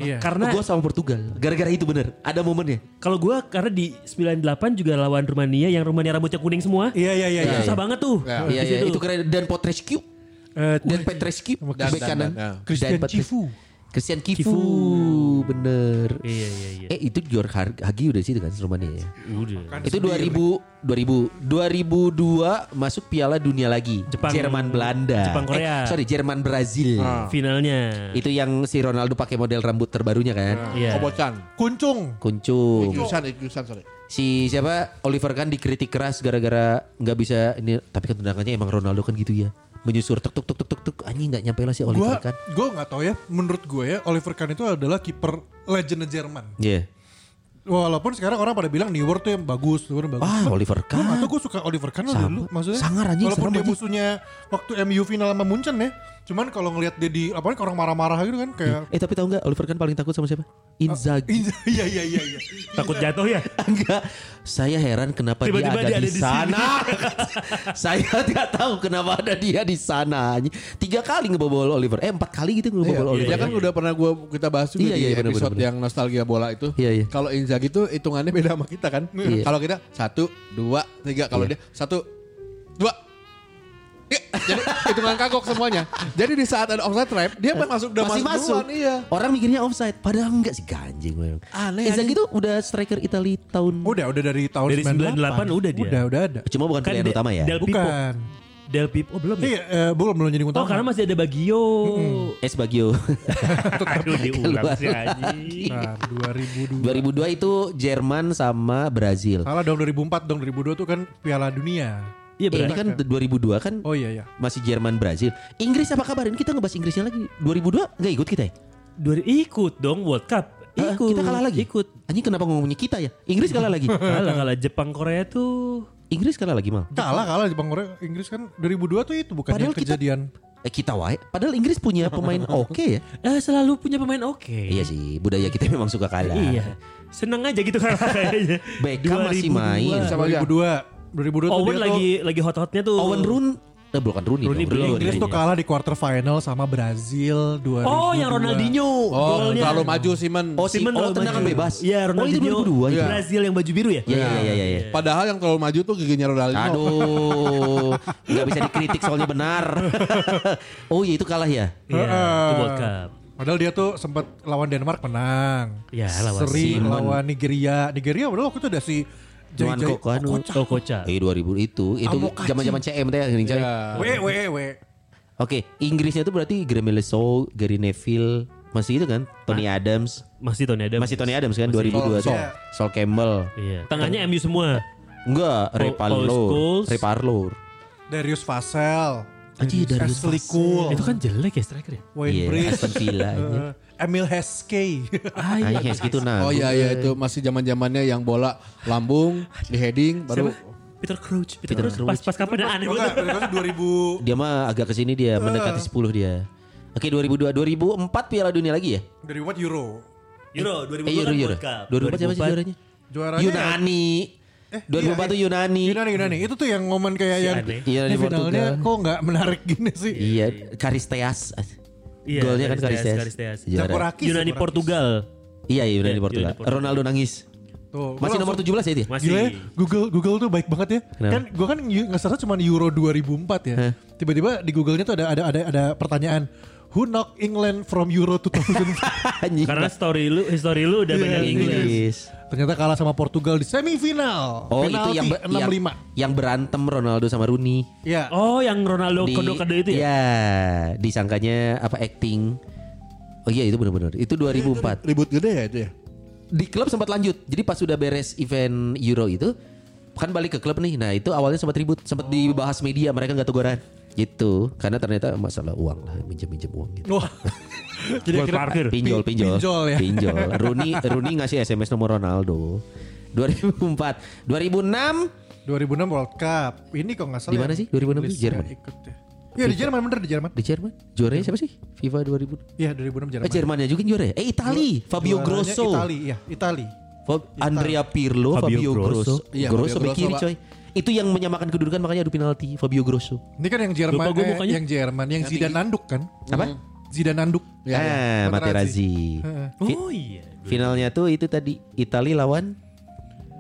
Iya. Karena gue sama Portugal. Gara-gara itu bener. Ada momennya. kalau gue karena di 98 juga lawan Rumania yang Rumania rambutnya kuning semua. Iya iya iya. iya. Susah banget tuh. Iya. di Iya iya. situ. Itu keren. Dan Potrescu. Eh, Dan Petrescu. Dan- Bek dan- kanan. dan, ya. Christian Dan Petres- Kifu. Christian Kifu. Bener. Iya iya iya. Eh itu Georg Har- Hagi udah di situ kan Rumania ya. Udah. Itu 2000 2000 2002 masuk Piala Dunia lagi. Jepang- Jerman Belanda. Jepang Korea. Ah. Eh, sorry Jerman Brazil. Finalnya. Itu yang si Ronaldo pakai model rambut terbarunya kan. Iya. Kobocan. Kuncung. Kuncung. Ijusan, Ijusan, eh, sorry. Si siapa Oliver kan dikritik keras gara-gara nggak bisa ini tapi kan tendangannya emang Ronaldo kan gitu ya. Menyusur tuk tuk tuk tuk tuk tuk anjing nggak nyampe lah si Gue Oliver kan. gue nggak tahu ya. Menurut gue ya Oliver Kahn itu adalah kiper legend Jerman. Iya. Walaupun sekarang orang pada bilang Neuer tuh yang bagus, Neuer yang bagus. Wah, Ah, Oliver Gue Kahn. gue suka Oliver Kahn lah Sama. dulu maksudnya. Sangar anjing, Walaupun serem dia anjing. musuhnya waktu MU final sama Munchen ya. Cuman kalau ngelihat dia di apa orang marah-marah gitu kan kayak Eh tapi tahu nggak Oliver kan paling takut sama siapa? Ah, Inzaghi. Iya iya iya iya. iya. Takut jatuh ya. Enggak, saya heran kenapa Tiba-tiba dia ada dia di ada di sana. saya tidak tahu kenapa ada dia di sana. Tiga kali ngebobol Oliver, eh empat kali gitu ngebobol Oliver. Dia kan udah pernah gua kita bahas juga Iya, di iya, bener, episode bener, bener. yang nostalgia bola itu. Iya, iya. Kalau Inzaghi itu hitungannya beda sama kita kan. Iya. Kalau kita satu, dua, tiga. Kalau dia satu, dua. Iya, Jadi hitungan kagok semuanya. Jadi di saat ada offside trap, dia masuk udah masuk, Masih masuk. duluan, iya. Orang mikirnya offside, padahal enggak sih ganjing memang. Aneh, Inzaghi itu udah striker Italia tahun Udah udah dari tahun Dari 98 udah dia. Udah udah ada. cuma bukan Kan pilihan Del- utama ya. Del Pipo. Bukan. Del Pipo oh, belum ya? Iya, eh, belum belum jadi utama. Oh karena masih ada Bagio. Es Bagio. Aduh diulang sih anjing. Nah, 2002. 2002 itu Jerman sama Brazil. Salah dong 2004 dong 2002 tuh kan Piala Dunia. Iya Eh, ini benar. kan 2002 kan Oh iya iya. masih Jerman Brazil. Inggris apa kabar? Ini kita ngebahas Inggrisnya lagi. 2002 nggak ikut kita ya? Dua- Ikut dong World Cup. Hah, Ikut. Kita kalah lagi. Ikut. Anjing kenapa ngomongnya kita ya? Inggris kalah lagi. Kalah kalah Jepang Korea tuh. Inggris kalah lagi mal. Kalah kalah Jepang Korea Inggris kan 2002 tuh itu bukan Padahal kita- kejadian. Eh kita wae. Padahal Inggris punya pemain oke ya. Eh selalu punya pemain oke. Iya sih, budaya kita memang suka kalah. Iya. Seneng aja gitu kalah kayaknya. Beckham masih 2002. main. Sama aja. 2002 2002 tuh Owen dia lagi lagi hot-hotnya tuh. Owen Roon, eh bukan Rooney, Rooney tuh dong, belum. Inggris tuh Iya. kalah di quarter final sama Brazil 2002. Oh yang Ronaldinho. Oh, Golnya. terlalu maju Simon. Oh, si, Simon oh lawan tendangan Brazil. bebas. Iya Oh, Ronaldinho. itu 2002 ya. Brazil yang baju biru ya? Iya, iya, iya, iya. iya. Padahal yang terlalu maju tuh giginya Ronaldinho. Aduh, nggak bisa dikritik soalnya benar. oh iya itu kalah ya. Iya, itu Heeh. World Cup. Padahal dia tuh sempat lawan Denmark menang. Ya, lawan Seri Simon. lawan Nigeria. Nigeria padahal waktu itu ada si Cuman Jai-Jai- kok kan. Oh kocak. Eh 2000 itu, itu Amokachi. zaman-zaman CM teh. Gini, coy. We we we. ya, Oke, Inggrisnya itu berarti Graham Leso, Gary Neville, masih itu kan? Tony Adams. Masih Tony Adams. Masih Tony Adams kan 2002 tuh. Sol Campbell. Iya. Tangannya MU semua. Enggak, Ray Paul- Paul Parlour. Scholes. Ray Parlour. Darius Vassell. Anjir, Darius Ashley Cole. Itu kan jelek ya striker ya. Wayne Iya, Bridge. Aston Villa, anjir. Eh, Emil Heskey. Anjing kayak segitu nah. Oh iya iya itu masih zaman zamannya yang bola lambung di heading baru Peter Crouch. Peter, Crouch. Pas pas kapan ya? aneh Enggak, banget. dari tahun 2000 Dia mah agak kesini dia mendekati 10 dia. Oke 2002 2004 Piala Dunia lagi ya? dari what Euro. Euro 2004 Eh, Euro, Euro. kan World Cup. 2004 siapa sih juaranya? Juaranya- Yunani. ya? Eh, 2004 tuh Yunani. Yunani, Yunani. Itu tuh yang momen kayak yang Ade. Iya, ini di finalnya Portugal. kok nggak menarik gini sih. Iya, Karisteas. Iya, Golnya kan Karisteas, Karisteas. Karisteas. Campur Juara. rakis, Yunani campur rakis. Portugal. Iya, iya, Yunani Iya, Portugal. Yunani Portugal. Ronaldo nangis. Tuh, gua Masih nomor langsung- 17 ya itu? ya? Masih. Gila ya, Google Google tuh baik banget ya. Kenapa? Kan gua kan yu- nggak salah cuma Euro 2004 ya. Tiba-tiba di Google-nya tuh ada ada ada ada pertanyaan Who knocked England from Euro 2004? Anjing. Karena story lu, history lu Iya, udah banyak iya. Inggris. Ternyata kalah sama Portugal di semifinal. Oh, itu Penalti yang, ber- yang 65. yang berantem Ronaldo sama Rooney. Iya. Oh, yang Ronaldo Di- kode-kode itu ya? Iya, disangkanya apa acting. Oh iya itu benar-benar. Itu 2004. Ribut gede ya itu ya? di klub sempat lanjut. Jadi pas sudah beres event Euro itu kan balik ke klub nih. Nah itu awalnya sempat ribut, sempat dibahas media mereka nggak teguran gitu karena ternyata masalah uang lah minjem minjem uang gitu. Wah. Jadi Gol akhirnya parkir. Pinjol, pinjol, pinjol ya. pinjol. Rooney, Rooney ngasih SMS nomor Ronaldo. 2004, 2006 2006 World Cup. Ini kok nggak salah. Di mana ya, sih? 2006 Inggris di Jerman? nggak ikut ya. Iya di Jerman bener di Jerman. di Jerman. Juaranya siapa sih? FIFA 2000. Iya 2006 Jerman. Eh Jermannya juga yang juara ya? Eh Itali, Fabio Juaranya Grosso. Itali, iya, Itali. Fab- Andrea Pirlo, Fabio, Fabio Grosso. Grosso. Iya, Grosso Fabio bek Grosso, kiri Pak. coy. Itu yang menyamakan kedudukan makanya adu penalti Fabio Grosso. Ini kan yang Jerman, Lupa gua eh, mukanya. yang Jerman, yang Zidane Nanduk kan? Apa? Zidane Nanduk. Ya, ah, Materazzi. Fi- Oh iya. Finalnya tuh itu tadi Itali lawan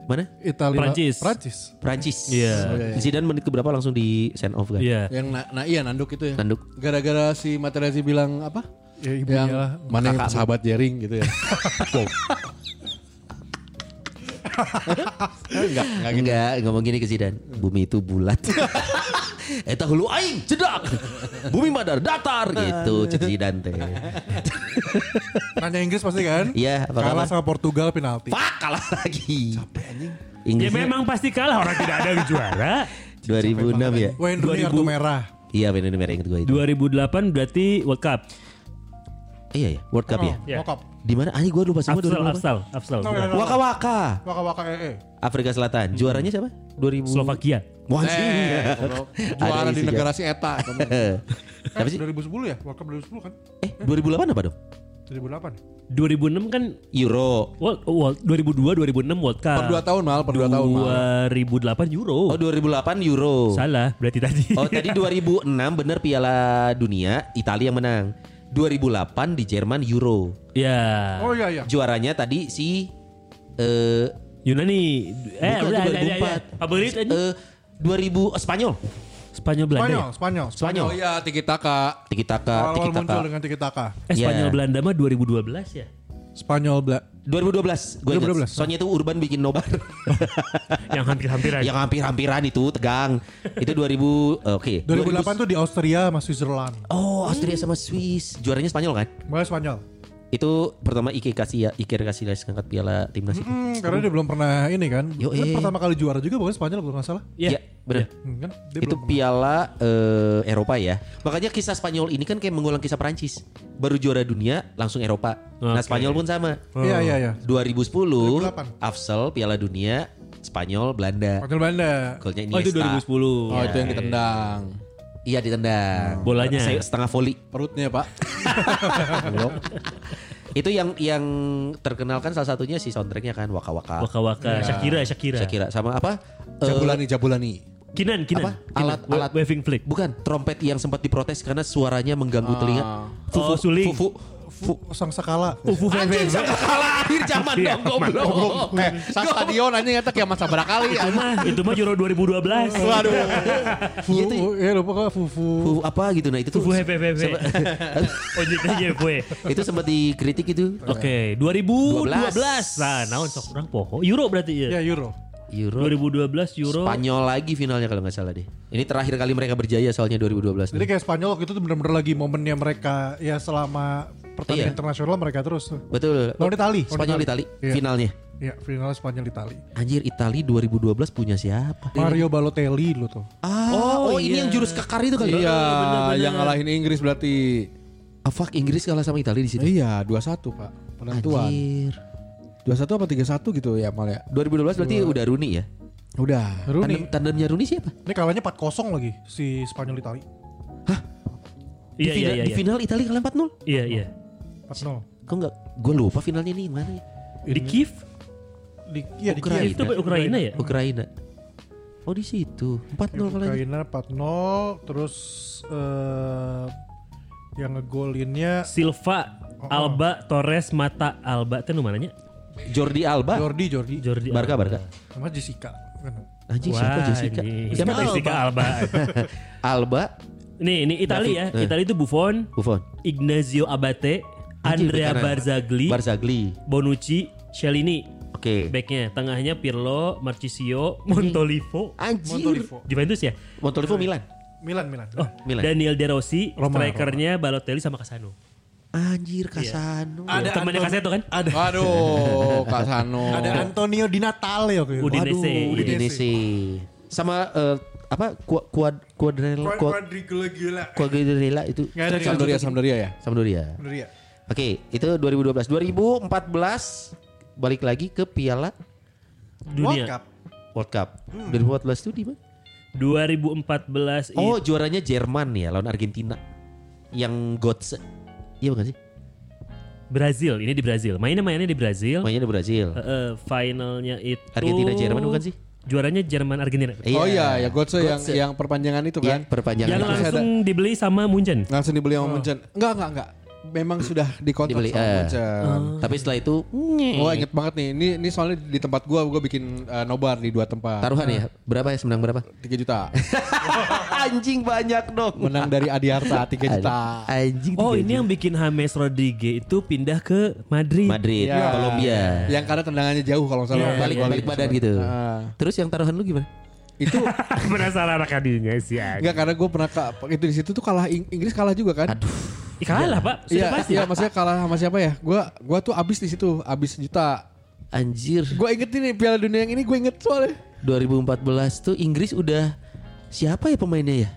mana? Italia. Prancis. Prancis. Prancis. Iya. Zidane menit keberapa langsung di send off kan? Iya. Yang na, nah iya nanduk itu ya. Nanduk. Gara-gara si Materazzi bilang apa? Ya, ibunya yang lah. mana yang sahabat jaring gitu ya. enggak, enggak gitu. Enggak, ngomong gini ke Zidane. Bumi itu bulat. Eta hulu aing cedak. Bumi madar datar gitu cek Zidane teh. Nanya Inggris pasti kan? Iya, apa Kalah kabar? sama Portugal penalti. Pak kalah lagi. Capek anjing. Ya Inggris memang pasti kalah orang tidak ada yang juara. 2006 ya. Wayne Rooney 2000. kartu merah. Iya benar merah ingat gue itu. 2008 berarti World Cup. Iya ya, World Cup ya. Iya. Mokap. Di mana? Anjing gue lupa semua Afsal, 2008. Afsal, Afsal. No, bukan. no, no. Waka Waka. Waka waka eh eh. Afrika Selatan. Juaranya siapa? 2000. Hmm. Slovakia. Wah, anjing. Eh, goblok. Ada juara di isi negara si Eta. Eh, Apa sih? 2010 ya? World Cup 2010 kan? Eh, 2008 apa dong? 2008. 2006 kan Euro. World, oh, World 2002 2006 World Cup. per 2 tahun mal, per 2 tahun mal. 2008 Oh, Euro. 2008 Euro. Salah berarti tadi. Oh, tadi 2006 bener Piala Dunia, Italia yang menang. 2008 di Jerman Euro. ya. Ah. Oh iya iya. Juaranya tadi si eh Yunani. Eh, bukan, udah, itu udah, udah, udah. 2004. Favorit aja. Eh, 2000 eh, Spanyol. Spanyol Belanda. Spanyol, ya? Spanyol. Spanyol. Oh iya, Tiki Taka. Tiki Awal taka, tiki muncul kan? taka. dengan Tiki Taka. Eh, Iya. Spanyol Belanda mah 2012 ya. Spanyol Bla. 2012, gue 2012. ingat. Soalnya itu Urban bikin nobar. Yang hampir-hampir aja. yang hampir-hampiran itu tegang. Itu 2000 eh, oke. 2008 tuh di Austria sama Switzerland. Oh, Austria sama Swiss. Juaranya Spanyol kan? Mulai Spanyol. Itu pertama Iker Casillas, Iker Casillas ngangkat piala timnas. itu. Hmm, karena dia belum pernah ini kan. Yo, Kan eh. pertama kali juara juga bukan Spanyol kalau nggak salah. Iya. Iya, benar. Hmm, kan? Dia Itu belum pernah. piala eh, Eropa ya. Makanya kisah Spanyol ini kan kayak mengulang kisah Perancis. Baru juara dunia langsung Eropa. Nah, Oke. Spanyol pun sama. Iya iya iya. 2010 2008. Afsel Piala Dunia Spanyol Belanda. Spanyol Belanda. Golnya Oh, itu Iniesta. 2010. Oh, itu yang ditendang. Iya ditendang. Bolanya. Se- setengah volley. Perutnya, Pak. itu yang yang terkenal kan salah satunya si soundtracknya kan Waka Waka. Waka Waka, Shakira, Shakira, Shakira sama apa? Eh, Jabulani, Jabulani. Kinan, Kinan. Apa? Alat- Wa- alat- waving flick. Bukan trompet yang sempat diprotes karena suaranya mengganggu telinga. Oh, suling. Fufu. Fu- Sang Sakala. Ufu Anjing sama kalah akhir zaman dong goblok. Iya, Eh, sa- stadion anjing eta kiamat sabra kali. Itu mah, itu mah Euro 2012. Waduh. Fu, ya lupa kok Fufu. Fufu apa gitu nah itu tuh. Fufu FFV. sempat- Ojek aja Oh, gue. itu sempat dikritik itu. Oke, 2012. Nah, naon sok kurang poho. Euro berarti Ya ya. Euro. Euro 2012 Euro. Spanyol lagi finalnya kalau nggak salah deh. Ini terakhir kali mereka berjaya soalnya 2012. Jadi kayak Spanyol waktu itu bener-bener lagi momennya mereka ya selama pertandingan Iya. internasional mereka terus tuh. Betul. Lawan Itali. Spanyol Lawan Itali Itali. Iya. finalnya. Ya final Spanyol Itali. Anjir Itali 2012 punya siapa? Mario Balotelli dulu tuh. Ah, oh, iya. ini yang jurus kekar itu kan? Oh, kali. Iya, yang ngalahin Inggris berarti. Ah, fuck, Inggris kalah sama Italia di sini. Iya, 21, Pak. Penentuan. Anjir. 21 apa 31 gitu ya, Mal ya. 2012 berarti udah Rooney ya? Udah. Rooney. Tandem, tandemnya Rooney siapa? Ini kalahnya 4-0 lagi si Spanyol Itali. Di, Iya, iya, final, iya, di iya. final Italia kalah 4-0. Iya, iya. 4-0. kok nggak gue lupa finalnya nih mana ya? Di Kiev? Iya, Di, ya, di Ukraina. Kiev. Itu Ukraina ya? Ukraina. Oh di situ Iya, 4-0 kalau Ukraina 4-0 terus eh, yang ngegolinnya Silva, Oh, oh. Alba, Torres, Mata, Alba. Itu nu mananya? Jordi Alba, Jordi Jordi Jordi Barca Alba. Barca. sama Jessica kan. Anjing Wah, siapa Jessica? ini. Siapa? Alba. Jessica Alba. Alba, Nih, ini Itali ya. David, eh. Itali itu Buffon, Buffon, Ignazio Abate, Anjing, Andrea bekanan. Barzagli, Barzagli. Bonucci, Chiellini. Oke. Backnya, tengahnya Pirlo, Marchisio, Montolivo, Anjir. Montolivo. Juventus ya. Montolivo Milan. Milan Milan. Oh, Milan. Daniel De Rossi, Roma, strikernya Balotelli sama Casano. Iya. Anjir Kasano. Ada Temannya Anton- Casano kan? Ada Waduh, Kasano. ada Antonio Di Natale waktu itu. Udin- Waduh, Udinese. Udinese. Sama eh, apa kuad kuad kuadrel Quad- kuad Quadrigola gila. kuadrela itu Nggak ada di Sampdoria, Sampdoria ya? Sampdoria. Bener ya? Oke, itu 2012. 2014 balik lagi ke Piala World Dunia. Cup. World Cup. 2014 itu di mana? 2014 Iya. Oh, juaranya Jerman ya lawan Argentina. Yang Gotze. Iya bukan sih? Brazil, ini di Brazil. Mainnya mainnya di Brazil. Mainnya di Brazil. Eh, eh, finalnya itu Argentina, Jerman bukan sih? Juaranya Jerman Argentina. Oh iya, ya Gotse yang Götze. yang perpanjangan itu kan. Iya, perpanjangan. Jangan Yang itu. Oh. langsung langsung dibeli sama Munchen. Langsung dibeli sama Munchen. Hmm. Enggak, enggak, enggak. Memang sudah dikontrak Dibeli, sama eh. Hmm. Munchen. Tapi setelah itu Gua inget banget nih. Ini ini soalnya di tempat gua gua bikin eh, nobar di dua tempat. taruhan ya. Berapa ya menang berapa? 3 juta. Anjing banyak dong. Menang dari Adiarta 3 juta. Anjing. Oh, tiga ini yang bikin James Rodriguez itu pindah ke Madrid. Madrid, Iya. Kolombia. Yang karena tendangannya jauh kalau nggak salah. Iya, balik Gua balik lihat. badan gitu. Ah. Terus yang taruhan lu gimana? Itu Penasaran anak adiknya sih. Ag. enggak karena gua pernah ka- itu di situ tuh kalah Ing- Inggris kalah juga kan. Ih, Kalah, Pak. Sudah Iya, pasti. iya maksudnya kalah sama siapa ya? Gua gua tuh abis di situ, abis juta. Anjir. Gua inget ini Piala Dunia yang ini gue inget soalnya. 2014 tuh Inggris udah siapa ya pemainnya ya?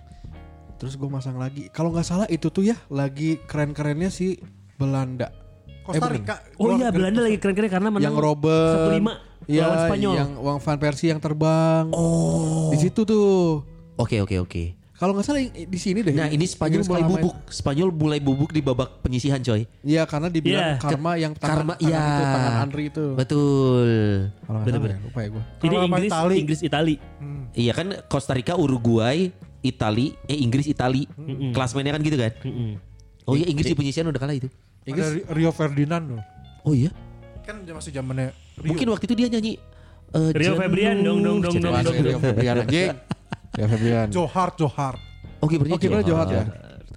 Terus gue masang lagi. Kalau nggak salah itu tuh ya lagi keren-kerennya si Belanda. Costa bukan. Rica. Keluar Oh kan? iya, dari- Belanda lagi keren-keren karena menang yang Robert 1-5 ya, lawan Spanyol. Yang Wang Van Persie yang terbang. Oh. Di situ tuh. Oke oke oke. Kalau nggak salah yang di sini deh. Nah ini Spanyol Inggris mulai malah main. bubuk. Spanyol mulai bubuk di babak penyisihan coy. Iya karena dibilang Iya. karma yang tangan, Karma tangan ya. itu, tangan Andri itu. Betul. Kalau nggak salah ya, lupa ya gue. Jadi Kalau sama Inggris, Itali. Inggris Itali. Hmm. Iya kan Costa Rica, Uruguay, Itali, eh Inggris, Itali. Hmm. Klasmennya kan gitu kan? Oh iya Inggris di penyisihan udah kalah itu. Ada Ri- Rio Ferdinand loh. Oh iya. Kan dia masih zamannya Rio. Mungkin waktu itu dia nyanyi eh, jenuh, Rio Febrian, dong, dong, dong, jenuh. dong, Wah, dong. Rio Febrian anjing. Rio Febrian. Johar Johar. Oke berarti Oke, berarti Johar Johor. ya.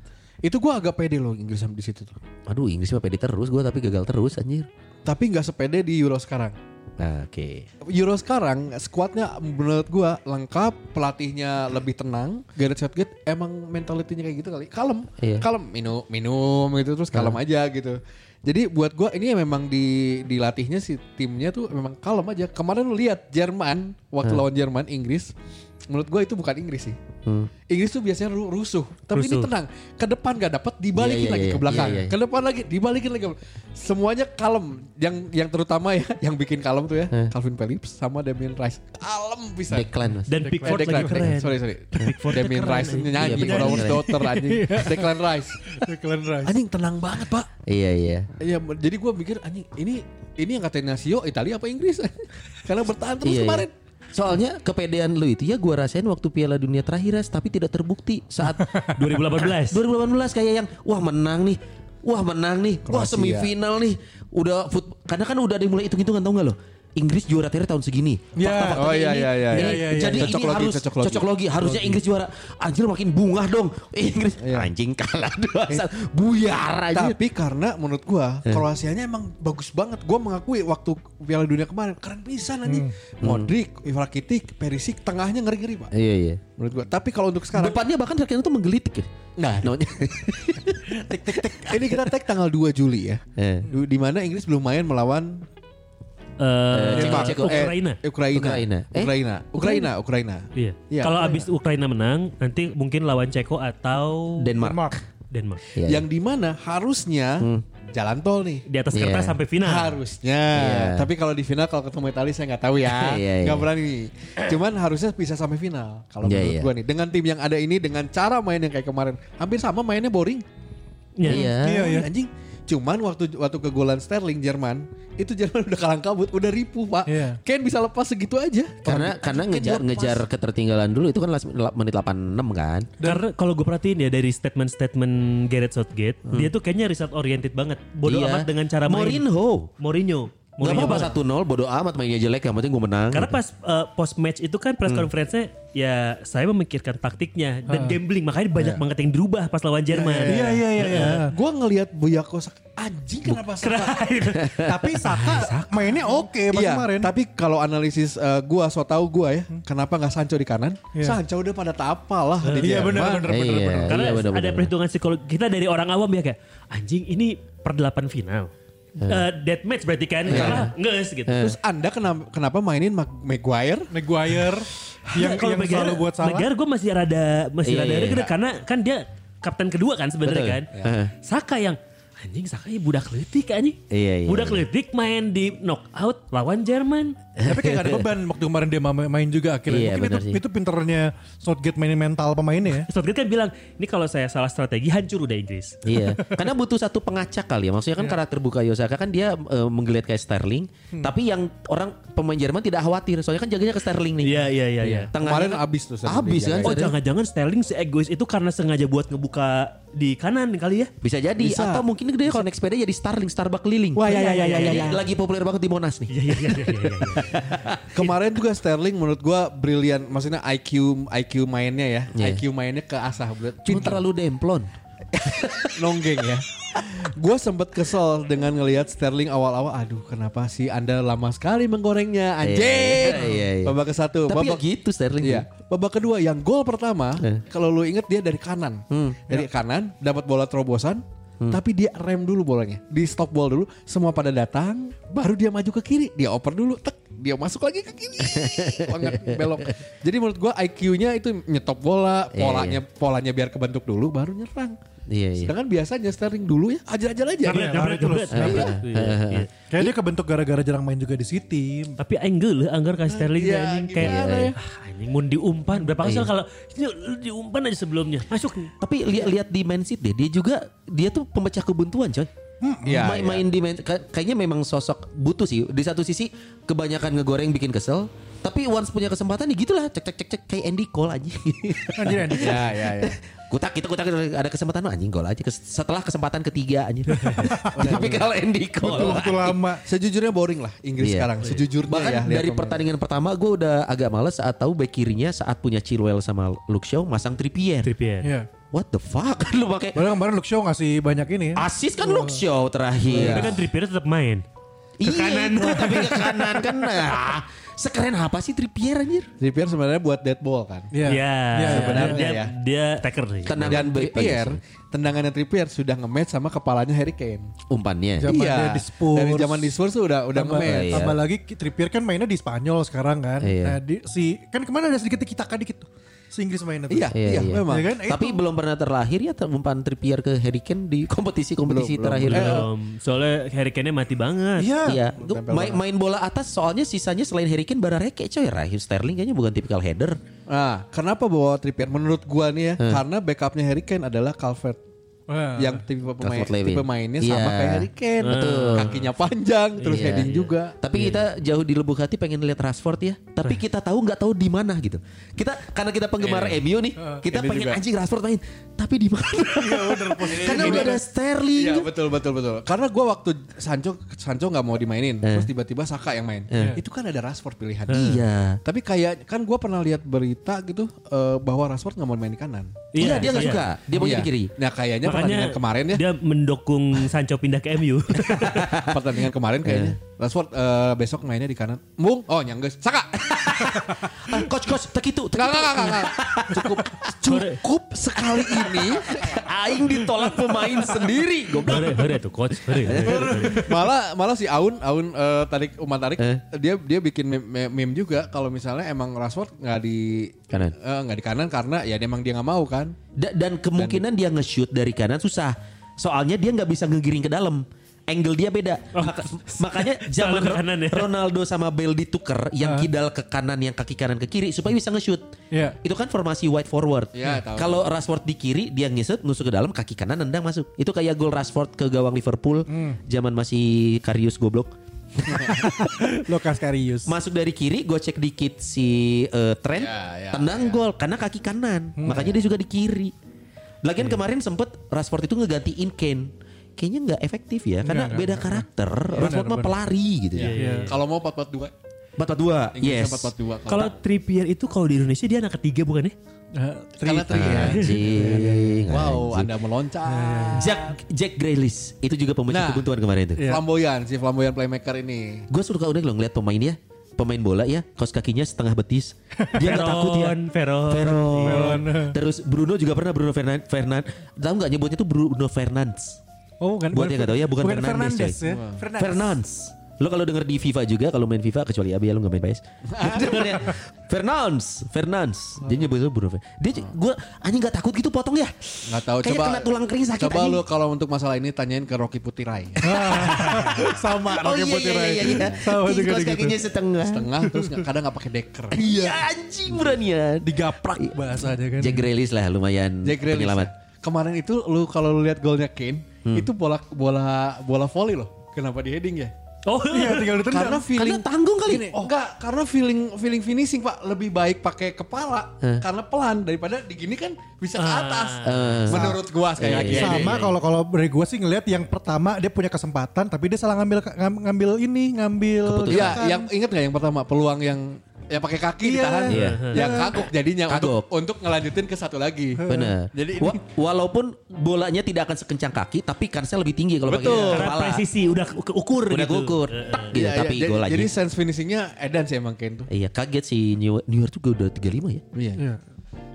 Itu gue agak pede loh Inggris sama di situ tuh. Aduh Inggris mah pede terus gue tapi gagal terus anjir. Tapi nggak sepede di Euro sekarang. Nah, Oke. Euro sekarang skuadnya menurut gua lengkap, pelatihnya lebih tenang. Gareth Southgate emang mentalitinya kayak gitu kali, kalem, Iya. kalem minum minum gitu terus kalem aja gitu. Jadi buat gua ini memang di dilatihnya si timnya tuh memang kalem aja. Kemarin lu lihat Jerman Iya. waktu lawan Jerman Inggris, menurut gua itu bukan Inggris sih. Hmm. Inggris tuh biasanya ru- rusuh, tapi ini Rusuh. tenang. Ke depan gak dapat dibalikin Iya, iya, lagi iya, ke belakang, iya, iya. ke depan lagi dibalikin lagi. ke belakang. Semuanya kalem. Yang yang terutama ya, yang bikin kalem tuh ya, Calvin Phillips sama Damien Rice. Kalem bisa. Declan mas. Dan Eh, Pickford Declan, lagi keren. Declan, sorry sorry. Pickford Damien keren, Rice anjing. Iya, nyanyi Pickford Flower keren. Daughter anjing. Declan Rice. Declan Rice. Anjing tenang banget, Pak. Iya iya. Iya, jadi gua mikir anjing ini ini yang katanya Nasio Italia apa Inggris? Karena bertahan terus Iya, iya. kemarin. Soalnya kepedean lu itu ya gue rasain waktu Piala Dunia terakhir Ras, tapi tidak terbukti saat Eh, 2018. 2018 kayak yang wah menang nih. Wah menang nih, wah Kroasia. semifinal nih, udah foot, karena kan udah ada yang mulai hitung-hitungan tau gak lo? Inggris juara terakhir tahun segini. Iya. Fakta-faktanya Oh, iya, ini, iya, iya, ini. iya, iya. Jadi Cocok ini logi, harus cocok cocok logi. logi. Harusnya Inggris juara. Anjir makin bungah dong. Inggris Iya. anjing kalah 2 Buyar aja. Tapi karena menurut gua Kroasianya emang bagus banget. Gua mengakui waktu Piala Dunia kemarin keren pisan anjing. Modric, Ivrakitic, Perisic tengahnya ngeri-ngeri, Pak. Iya iya. Menurut gua. Tapi kalau untuk sekarang Depannya bahkan terkena tuh menggelitik ya. Nah, ini kita tag tanggal 2 Juli ya. Eh. Du- Di mana Inggris belum main melawan Eh, Jepang. Jepang. Eh, Ukraina. Ukraina. Ukraina. Eh? Ukraina. Ukraina. Ukraina. Iya. Iya, Kalau Ukraina. abis Ukraina menang, nanti mungkin lawan Ceko atau Denmark. Denmark. Denmark. Iya, Hmm. Yang di mana harusnya jalan tol nih. Di atas Iya. kertas sampai final. Harusnya. Iya. Tapi kalau di final kalau ketemu Italia saya nggak tahu ya. Iya, Nggak iya. berani. Cuman harusnya bisa sampai final. Kalau Iya, menurut iya. gua nih dengan tim yang ada ini dengan cara main yang kayak kemarin hampir sama mainnya boring. Iya. Iya. Iya, iya. Anjing Cuman waktu waktu kegolan Sterling Jerman, itu Jerman udah kalang kabut, udah ripuh, Pak. Iya. Kane bisa lepas segitu aja. Karena karena ngejar ngejar ketertinggalan dulu itu kan last- la- menit 86 kan. Karena kalau gue perhatiin ya dari statement-statement Gareth Southgate, dia tuh kayaknya riset oriented banget. Bodoh Iya. amat dengan cara main. Mourinho. Mourinho. Gak Mourinho apa-apa banget. 1-0 bodo amat mainnya jelek yang penting gue menang. Karena pas uh, post match itu kan press conference-nya ya saya memikirkan taktiknya dan gambling makanya banyak banget yang dirubah pas lawan Jerman. Iya iya iya. iya. Gua ngelihat Boyako Saka anjing kenapa Saka? Tapi Saka mainnya oke pas Iya, kemarin. Hmm. tapi kalau analisis eh, gua so tau gua ya, kenapa nggak Sancho di kanan? Sancho udah pada tak apalah di Iya Jerman. benar benar Eh, benar. iya, benar. Karena iya, benar-benar. ada perhitungan psikologi kita dari orang awam ya kayak anjing ini perdelapan final. Ya. Eh, dead match berarti kan kalah nges gitu. Terus Anda kenapa, kenapa mainin Mag- Maguire? Maguire yang, Kalau yang Maguire- selalu buat salah. Maguire gue masih rada masih Iya, rada iya, rada iya. karena kan dia kapten kedua kan sebenarnya Betul. kan. Iya. Saka yang anjing Saka ya budak letik anjing. Iya, iya, budak iya. letik main di knockout lawan Jerman. Tapi kayak gak ada beban waktu kemarin dia ma- main juga akhirnya. Iya, Mungkin itu, benar sih. itu pinternya Southgate mainin mental pemainnya ya. Southgate kan bilang, ini kalau saya salah strategi hancur udah Inggris. iya, karena butuh satu pengacak kali ya. Maksudnya Iya. kan karakter Bukayo Saka kan dia eh, menggeliat kayak Sterling, Hmm. tapi yang orang pemain Jerman tidak khawatir, soalnya kan jaganya ke Sterling nih. Iya iya iya. iya. Tengahnya Kemarin kan- abis tuh Sterling Abis kan. dijagain. Oh jangan-jangan Sterling seegois itu karena sengaja buat ngebuka di kanan kali ya? Bisa jadi atau mungkin dia kalau next sepeda jadi Starling Starbuck keliling. Wah, ya, ya, ya, ya, Jadi ya, ya. Lagi populer banget di Monas nih. Iya iya iya iya. iya, iya. Kemarin juga Sterling menurut gua brilian, maksudnya IQ IQ mainnya ya, Iya. IQ mainnya ke asah, Cuma terlalu demplon. nonggeng ya. Gue sempet kesel dengan ngelihat Sterling awal-awal. Aduh, kenapa sih Anda lama sekali menggorengnya, anjing. Iya, iya, iya. Babak ke satu, Tapi ya babak gitu Sterling. Iya. Babak kedua yang gol pertama, Eh. kalau lu inget dia dari kanan, Hmm. dari Ya. kanan dapat bola terobosan, tapi dia rem dulu bolanya, di stop ball dulu, semua pada datang, baru dia maju ke kiri, dia oper dulu, tek, dia masuk lagi ke kiri, banget belok. Jadi menurut gua IQ-nya itu nyetop bola, Iya, polanya polanya biar kebentuk dulu, baru nyerang. Iya, iya. Sedangkan biasanya Sterling dulu ya ajar-ajar aja. Karena- Jabret, jabret, jabret. Iya, iya. Kayaknya dia kebentuk gara-gara jarang main juga di City. Tapi angle lah anggar kayak Sterling Iya, kayak anjing gimana kayak ya? ah, anjing mun diumpan berapa kali kalau "Yuk, lu diumpan aja sebelumnya masuk nih. Tapi lihat-lihat di Man City deh, dia juga dia tuh pemecah kebuntuan, coy. Iya, main, iya. main di Man- ka- kayaknya memang sosok butuh sih. Di satu sisi kebanyakan ngegoreng bikin kesel, tapi once punya kesempatan ya gitulah cek cek cek cek kayak Andy Cole aja. Anjir Andy. Ya, ya, ya. kutak kita kutak ada kesempatan anjing gol aja Kes- setelah kesempatan ketiga anjing. tapi kalau Andy Waktu, Cole waktu lama. Sejujurnya boring lah Inggris Iya. sekarang. Sejujurnya Bahkan ya. lihat dari pemain. pertandingan pertama gue udah agak males saat tahu back kirinya saat punya Chilwell sama Luke Shaw masang Trippier. Trippier. Iya. What the fuck lu pakai Padahal kemarin Luke Shaw ngasih banyak ini. ya. asis kan Luke Shaw Tapi terakhir. kan Trippier tetap main. Iya, itu, tapi ke kanan kan. Nah, sekeren apa sih Trippier anjir? Trippier sebenarnya buat dead ball kan. Iya. Iya. sebenarnya Dia ya. dia taker nih. Tenang. Dan Baik, Trippier, tendangannya Trippier sudah nge-match sama kepalanya Harry Kane. Iya. Umpannya. Zaman dia di Spurs. Dari zaman di Spurs tuh udah udah Tambah, nge-match. iya. tambah lagi Trippier kan mainnya di Spanyol sekarang kan. Iya. Nah, di, si kan kemana ada sedikit tikitakan dikit tuh. Si Inggris mainnya tuh. Iya, Iya, iya, iya. memang. Ya kan? Tapi Itu. belum pernah terlahir ya ter- umpan Trippier ke Harry Kane di Belum, kompetisi-kompetisi belum, terakhir. Eh, Belum. Gitu Soalnya Harry Kane-nya mati banget. Iya. Iya, Gua main, main bola atas soalnya sisanya selain Harry Kane bara reke coy. Rahim Sterling kayaknya bukan tipikal header. Nah, kenapa bawa Trippier? Menurut gua nih ya, karena backupnya Harry Kane adalah Calvert. Wah. Iya. Yang tipe pemain Calvert-Lewin. tipe mainnya Iya. sama kayak Harry Kane. Kakinya panjang, terus Iya, heading iya. juga. Tapi kita jauh di lubuk hati pengen lihat Rashford ya. Tapi kita tahu nggak tahu di mana gitu. Kita karena kita penggemar MU nih, kita Ini pengen juga. anjing Rashford main. Tapi di mana? karena udah ada Sterling. Gitu. Iya betul betul betul. Karena gua waktu Sancho Sancho nggak mau dimainin, Eh. terus tiba-tiba Saka yang main. Itu kan ada Rashford pilihan. Iya. Tapi kayak kan gua pernah lihat berita gitu eh, bahwa Rashford nggak mau main di kanan. Iya, dia nggak suka. Dia mau Iya. di kiri. Nah kayaknya Makanya pertandingan kemarin ya, dia mendukung Sancho pindah ke MU. pertandingan kemarin kayaknya Rashford eh, besok mainnya di kanan. Mung, oh nyangges, Saka. Ah, coach coach tek itu. tek Nggak itu. nggak nggak, nggak. Cukup cukup sekali ini Aing ditolak pemain sendiri. Goblok. Hore, hore tuh coach. Hore. hore, hore. malah malah si Aun Aun eh, tarik umat tarik dia dia bikin meme, meme- meme juga kalau misalnya emang Rashford nggak di Kanan. eh, nggak di kanan karena ya emang dia nggak mau kan Da- dan kemungkinan dia nge-shoot dari kanan susah. Soalnya dia nggak bisa ngegiring ke dalam. angle dia beda. Maka- makanya zaman Selalu ke Oh. kanan ya. Ah. Ronaldo sama Bale ditukar yang kidal ke kanan yang kaki kanan ke kiri supaya bisa nge-shoot. Ya. Iya. Itu kan formasi wide forward. Hmm. Iya, tahu. Kalau Rashford di kiri dia ngisut nusuk ke dalam kaki kanan nendang masuk. Itu kayak gol Rashford ke gawang Liverpool Hmm. zaman masih Karius goblok. Lukas Karius. Masuk dari kiri, gue cek dikit si eh, Trent, Ya, ya, tendang gol karena kaki kanan. Hmm. Makanya dia juga di kiri. Lagian Iya. kemarin sempet Rashford itu ngegantiin Kane. Kayaknya nggak efektif ya, karena nggak, Iya, beda karakter. Rashford mah pelari gitu ya. Kalau mau 4-4-2. Empat empat dua, Inggrisnya yes. 4-4-2. Kalau Trippier itu kalau di Indonesia dia anak ketiga bukan ya? Eh, Tri. Karena tri ya. Anjing. Wow, anjing. Anda iya. meloncat. Jack Jack Grealish itu juga pembenci Nah. kebuntuan kemarin itu. Flamboyan, si flamboyan playmaker ini. Gue suka udah loh ngeliat pemain ya, pemain bola ya, kaos kakinya setengah betis. Dia nggak takut ya. Veron. Veron. Terus Bruno juga pernah Bruno Fernandes. Fernan, tahu nggak nyebutnya tuh Bruno Fernandes. Oh, bukan. Buat yang nggak tahu ya, bukan Fernandes, Fernandes coy. ya. Fernandes. Fernandes. Lo kalau denger di FIFA juga kalau main FIFA kecuali Abi ya lo nggak main PS. Dengernya, ya? Fernandes, Fernandes. Dia nyebutnya Bruno Fernandes. Dia gue anjing nggak takut gitu potong ya. Nggak tahu Kayak coba kena tulang kering sakit Coba anjing. lu kalau untuk masalah ini tanyain ke Rocky Putirai. Sama Oh Rocky iya iya Putirai. iya iya. Sama Ih, juga Kaos gitu. kakinya setengah. Setengah terus nggak- kadang nggak pakai deker. Iya anjing beranian. Digaprak bahasanya kan. Jack Grealish lah lumayan Jack Grealish. penyelamat. Kemarin itu lu kalau lu lihat golnya Kane, itu bola bola bola volley loh. Kenapa di heading ya? Oh Iya, tinggal ditendang. Karena Oh. feeling Karena tanggung kali. Gini, enggak, karena feeling feeling finishing Pak lebih baik pakai kepala karena pelan daripada digini kan bisa ke atas. Menurut gua sekali lagi. ya. sama kalau kalau dari gue sih ngelihat yang pertama dia punya kesempatan tapi dia salah ngambil ngam- ngambil ini ngambil Iya, gerakan. yang inget nggak yang pertama peluang yang ya pakai kaki Iya. ditahan, Iya. yang kagok jadinya Kagok. untuk untuk ngelanjutin ke satu lagi. Benar. Eh, Jadi ini- Wa- walaupun bolanya tidak akan sekencang kaki, tapi kansnya lebih tinggi kalau pakai Betul. Karena kepala. presisi udah keukur Oh, Udah gitu. gugur, tek gitu, Iya, iya. tapi jadi, gol lagi. jadi sense finishingnya Edan sih emang Kane tuh. Iya kaget sih New, New York juga udah 35 ya. Iya. Iya.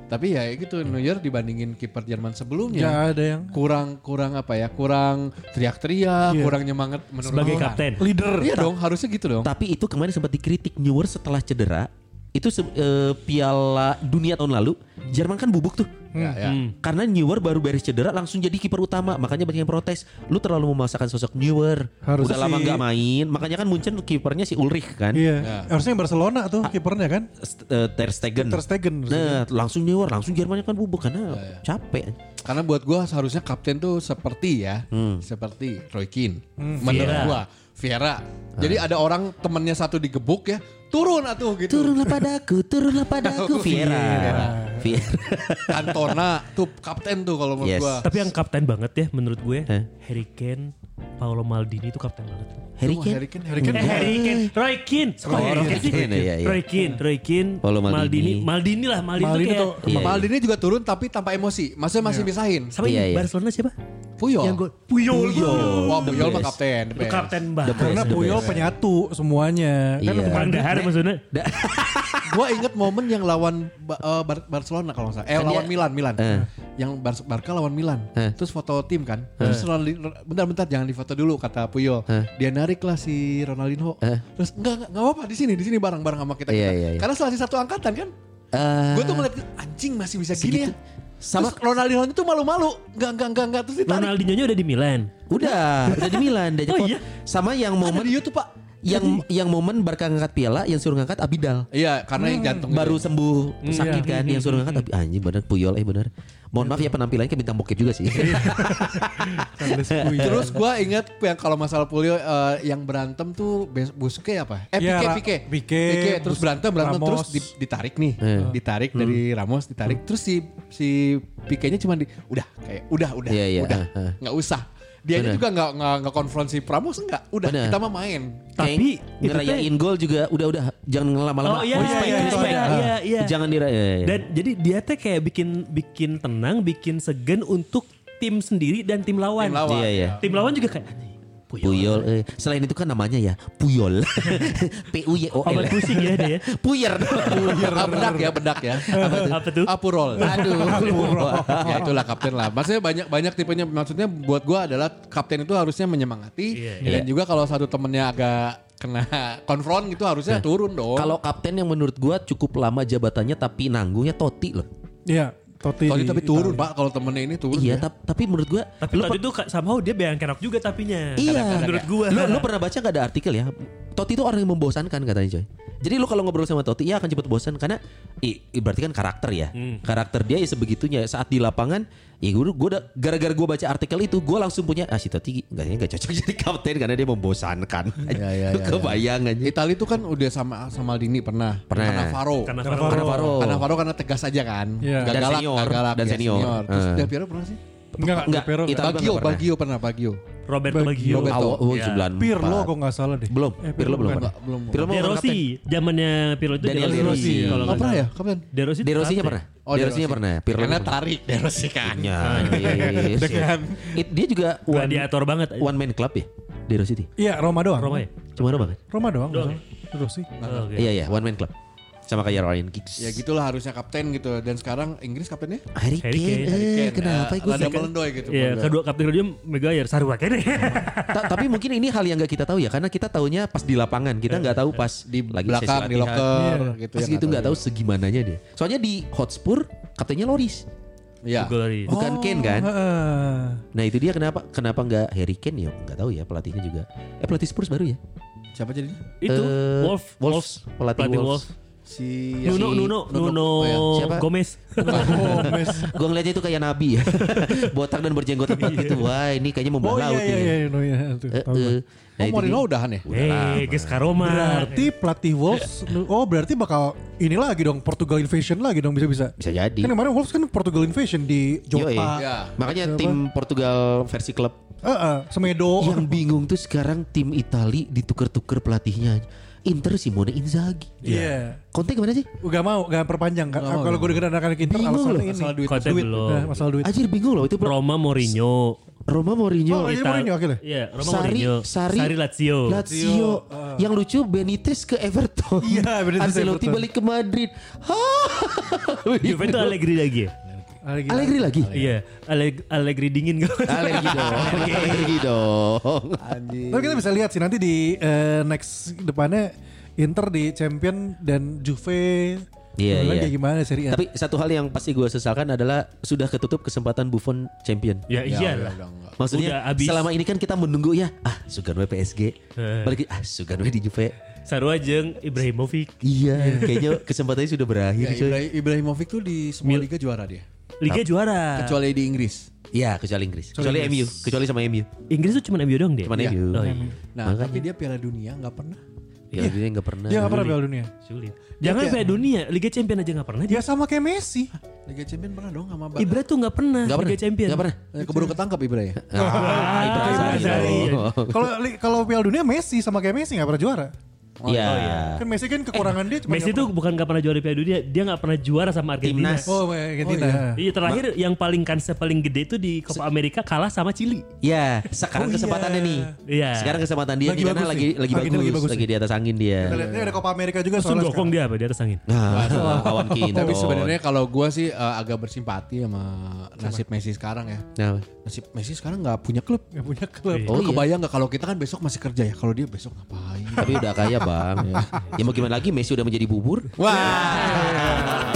Tapi ya gitu New Year dibandingin kiper Jerman Nggak Ya. sebelumnya ada yang kurang kurang apa ya? Kurang teriak-teriak, Iya. kurang nyemangat menurut Sebagai orang. kapten. leader Iya dong, harusnya gitu dong. Tapi itu kemarin sempat dikritik Newer setelah cedera. Itu se- eh, Piala Dunia tahun lalu Jerman kan bubuk tuh. Hmm. Ya, ya. Karena Newer baru beres cedera langsung jadi kiper utama. Makanya banyak yang protes. Lu terlalu memaksakan sosok Newer. Harusnya Udah lama sih- nggak main. Makanya kan Munchen kipernya si Ulrich kan. iya harusnya yang Barcelona tuh kipernya kan St- eh, Ter Stegen. Ter Stegen Nah, langsung Newer, langsung Jermannya kan bubuk Oh, karena iya. capek. Karena buat gua seharusnya kapten tuh seperti ya, Hmm. seperti Roy Keane. Hmm. Menurut Vieira. gua, Vieira. Ah. Jadi ada orang temennya satu digebuk ya, turun atuh gitu. Turunlah padaku, turunlah Oh, padaku Viera. Viera. Cantona tuh kapten tuh kalau menurut Yes. gua. Tapi yang kapten banget ya menurut gue Hah? Harry Kane, Paolo Maldini itu kapten banget. Harry Tuh, Kane. Kane, Harry Harry Kane. Kane. Eh, Harry Kane, Roy Keane, Kok Oh, Harry Kane sih? Roy Keane, iya, iya. Roy Keane, Roy Keane, Paolo Maldini. Maldini, Maldini lah, Maldini, Maldini tuh tuh- kayak Iya, iya. Maldini juga turun tapi tanpa emosi. Maksudnya masih misahin. sama Iya, yang iya. Barcelona siapa? Puyol. Yang gol Puyol. Puyol. Wah, The Puyol mah best. kapten. the Itu best. kapten The banget. best. karena the Puyol best. penyatu semuanya kan Iya. kemarin Pandahar maksudnya. Gua inget momen yang lawan Ba- eh, Bar- Barcelona kalau nggak salah. Eh, Kan lawan dia- Milan, Milan. Eh. Yang Bar- Barca lawan Milan. Eh. Terus foto tim kan. Terus Ronaldinho, bentar-bentar jangan difoto dulu kata Puyol. Eh. Dia narik lah si Ronaldinho. Eh. Terus enggak enggak enggak apa-apa di sini, di sini bareng-bareng sama kita. Iya, iya, iya. Karena selagi satu angkatan kan. Eh, Gue tuh ngeliat anjing masih bisa gini ya. Sama Sama- terus Ronaldinho itu malu-malu. Enggak enggak enggak enggak terus ditarik. Ronaldinho-nya udah di Milan. udah, udah di Milan, udah Oh, Jepang. iya? Sama yang Ada momen di YouTube, Pak. yang yang momen Barca ngangkat piala, yang suruh ngangkat Abidal. Iya, karena yang jantung Hmm. Baru sembuh Iya. sakit kan, yang suruh ngangkat tapi anjing bener Puyol eh bener. Mohon maaf ya penampilannya kayak bintang bokep juga sih. Iya. Charles Puyol. Terus gue inget yang kalau masalah polio eh, yang berantem tuh Bes- Buske apa? Eh Iya, Pique, Ra- Pique. Pique, Terus Bus- berantem, Ramos. berantem. Hmm. Terus di- ditarik nih. Iya. Ditarik dari Ramos, ditarik. Terus si si Pique-nya cuma di, udah kayak, udah, udah, Iya, iya, udah. ah, ah. Nggak usah. Dia Bener. juga nggak nggak nggak konfronsi Pramos enggak. Udah, Bener. kita mah main. Tapi Kayak itu teh- ngerayain gol juga udah-udah jangan lama-lama. Oh, iya, respect, iya, respect. iya, iya, iya. Jangan dirayain. Dan jadi dia teh kayak bikin bikin tenang, bikin segen untuk tim sendiri dan tim lawan. Tim lawan. Iya, iya. Tim lawan juga kayak "Anjing, Puyol. Puyol. eh. Selain itu kan namanya ya Puyol. P U Y O L. Obat pusing ya dia. Puyer. Ah, bedak ya, bedak ya. Apa tuh? Apurol. Aduh. ya itulah kapten lah. Maksudnya banyak banyak tipenya. Maksudnya buat gua adalah kapten itu harusnya menyemangati Iya, dan juga kalau satu temennya agak kena konfront gitu Iya. harusnya turun dong. Kalau kapten yang menurut gua cukup lama jabatannya tapi nanggungnya Toti loh. iya Totti, di Tadi tapi turun pak kalau temennya ini turun. Iya, ya. tap- tapi menurut gua Tapi lu Totti itu ka- somehow dia bayang kerok juga tapinya. Iya. Menurut gua. Lu, lu pernah baca gak ada artikel ya? Totti itu orang yang membosankan katanya coy. Jadi lu kalau ngobrol sama Totti ya akan cepet bosan karena i, i- berarti kan karakter ya. Karakter dia ya sebegitunya saat di lapangan ya gue gua udah- gara-gara gue baca artikel itu gue langsung punya ah si Totti gak, gak cocok jadi kapten karena dia membosankan. Iya, iya, lu iya, kebayang aja. Itali itu kan udah sama sama Dini pernah. Pernah. Cannavaro. Karena Karena Faro. Cannavaro. Cannavaro karena tegas aja kan. Iya. Gak Dan galak, senior. gak galak. Dan Ya, senior. Terus Eh. Del Piero pernah sih? Enggak, Enggak, enggak, Pero Ita- Bagio, Tapi gak pernah. Bagio pernah, Bagio. Roberto Baggio. Roberto. Awal oh, Ya. 94. Pirlo kok nggak salah deh. belum. Eh, Pirlo belum. pernah. Enggak, belum. Pirlo belum De pernah Rossi, zamannya Pirlo itu Daniel De Rossi. Kalau Oh nggak pernah ya? salah. Kapan? De Rossi. kapten. De Rossi-nya kapten. pernah. De Rossi-nya pernah. ya? Pirlo Oh, Karena belum. tarik De Rossi kan. Ya, yes, yes. It- dia juga one, Gladiator banget. one man club ya De Rossi itu. Iya, Roma doang. Roma ya? Cuma doang kan? Roma doang. Doang nggak salah. Terus sih. Oh, oke. Iya iya one man club sama kayak Ryan Giggs. Ya gitulah harusnya kapten gitu. Dan sekarang Inggris kaptennya? Harry Harry Kane, Kane, eh, kenapa Eh, gue rada melendoy gitu. Iya, melendoy. kedua kapten dia Megayer Sarua kayaknya. Tapi mungkin ini hal yang nggak kita tahu ya karena kita tahunya pas di lapangan kita nggak tahu pas di lagi sesi belakang di latihan. locker gitu Pas ya, gitu nggak tahu segimananya dia. Soalnya di Hotspur katanya Loris Iya. Golari. Oh. bukan Kane kan. Heeh. Nah itu dia kenapa kenapa nggak Harry Kane ya nggak tahu ya pelatihnya juga. Eh pelatih Spurs baru ya? Siapa jadi? Itu Eh, Wolf, Wolves. Pelatih pelatih Wolves. Wolf. Si Iya. Nuno, si- Nuno, Nuno, Oh, iya. Siapa? Gomez. Oh, mes. Gue ngeliatnya itu kayak Nabi ya, botak dan berjenggot lebat gitu. Wah ini kayaknya Oh membah iya laut iya ini. ya. iya, no, iya, tuh, Eh, tahu eh. gua. Nah, Oh itu Mourinho dia. udahan ya? Eh, Ges Karoma. Berarti pelatih Wolves Oh berarti bakal Ini lagi dong Portugal Invasion lagi dong bisa-bisa Bisa jadi. Kan kemarin Wolves kan Portugal Invasion di Jota Yoi. Ya. Iya, Makanya Siapa? tim Portugal versi klub Eh, eh, Semedo yang bingung tuh sekarang tim Itali ditukar-tukar pelatihnya. Inter Simone Inzaghi. Iya Konten kemana sih? Gak mau Gak perpanjang kan Kalau gue denger anak-anak Inter Bingung alasannya loh. ini Masalah duit. Konten Duit, belum. nah, Masalah duit Anjir bingung loh itu Roma, Roma Mourinho. Roma Mourinho. Oh, iya, Ital- Mourinho akhirnya? Iya, Roma Sari, Mourinho. Sari, Lazio. Lazio. Yang lucu Benitez ke ah. Everton. Iya, Benitez ke Ancelotti Everton. balik ke Madrid. Hah? Juventus Allegri lagi. ya? Ah, gila. Allegri lagi. Iya, Alleg- Allegri dingin kan. Allegri dong. Allegri dong. Kan Tapi kita bisa lihat sih nanti di eh, next depannya Inter di Champion dan Juve Iya, Mulai iya. kayak gimana seri A. Tapi satu hal yang pasti gue sesalkan adalah sudah ketutup kesempatan Buffon champion. Ya iya iyalah. Iya, Maksudnya Udah abis. selama ini kan kita menunggu ya ah Sugarwe PSG Eh. balik ah Sugarwe di Juve Sarua jeung Ibrahimovic. iya kayaknya kesempatannya sudah Ya, berakhir coy Ibra- Ibrahimovic tuh di semua liga juara dia. Liga juara. Kecuali di Inggris. iya kecuali Inggris kecuali MU kecuali sama MU Inggris tuh cuma MU doang deh. cuma Iya. MU Oh, iya. Nah, tapi dia Piala Dunia nggak pernah. ya dia nggak pernah Dia gak Iya, pernah Piala Dunia. Sulit. Jangan Piala Dunia, Liga Champion aja nggak pernah. dia. Ya sama kayak Messi. Liga Champion pernah dong sama Barca. Ibra tuh nggak pernah nggak pernah Liga Champion. nggak pernah Eh, Keburu ketangkap Ibra ya. Ah, Ibra Ibra Sarri. Sarri. Oh, Kalau li- kalau Piala Dunia Messi sama kayak Messi gak pernah juara. iya Kan Messi kan kekurangan dia cuma Eh, Messi nggak tuh bukan nggak pernah juara Piala Dunia, dia nggak pernah juara sama Argentina. Timnas. pernah- Oh, kayak Argentina. Oh, iya. Iya terakhir yang paling kansnya paling gede itu di Copa Amerika kalah sama Chili. ya sekarang Oh, iya. kesempatannya nih Iya. sekarang kesempatan dia Lagi di sana bagus nih. lagi lagi Lagi- bagus lagi bagus lagi di atas angin Kita dia lihat, Ini ada Copa Amerika juga Terus soalnya. gokong dia apa di atas angin. nah kawan kita Tapi sebenarnya kalau gua sih eh, agak bersimpati sama nasib Messi sekarang ya. nah, Nasib Messi sekarang nggak punya klub. Gak punya klub. Lu Oh, iya. kebayang nggak kalau kita kan besok masih kerja ya? Kalau dia besok ngapain? tapi udah kaya bang ya mau gimana lagi Messi udah menjadi bubur Wah.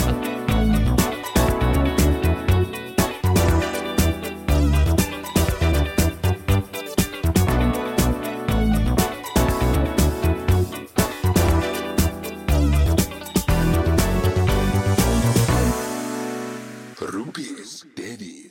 Rupees Denny's.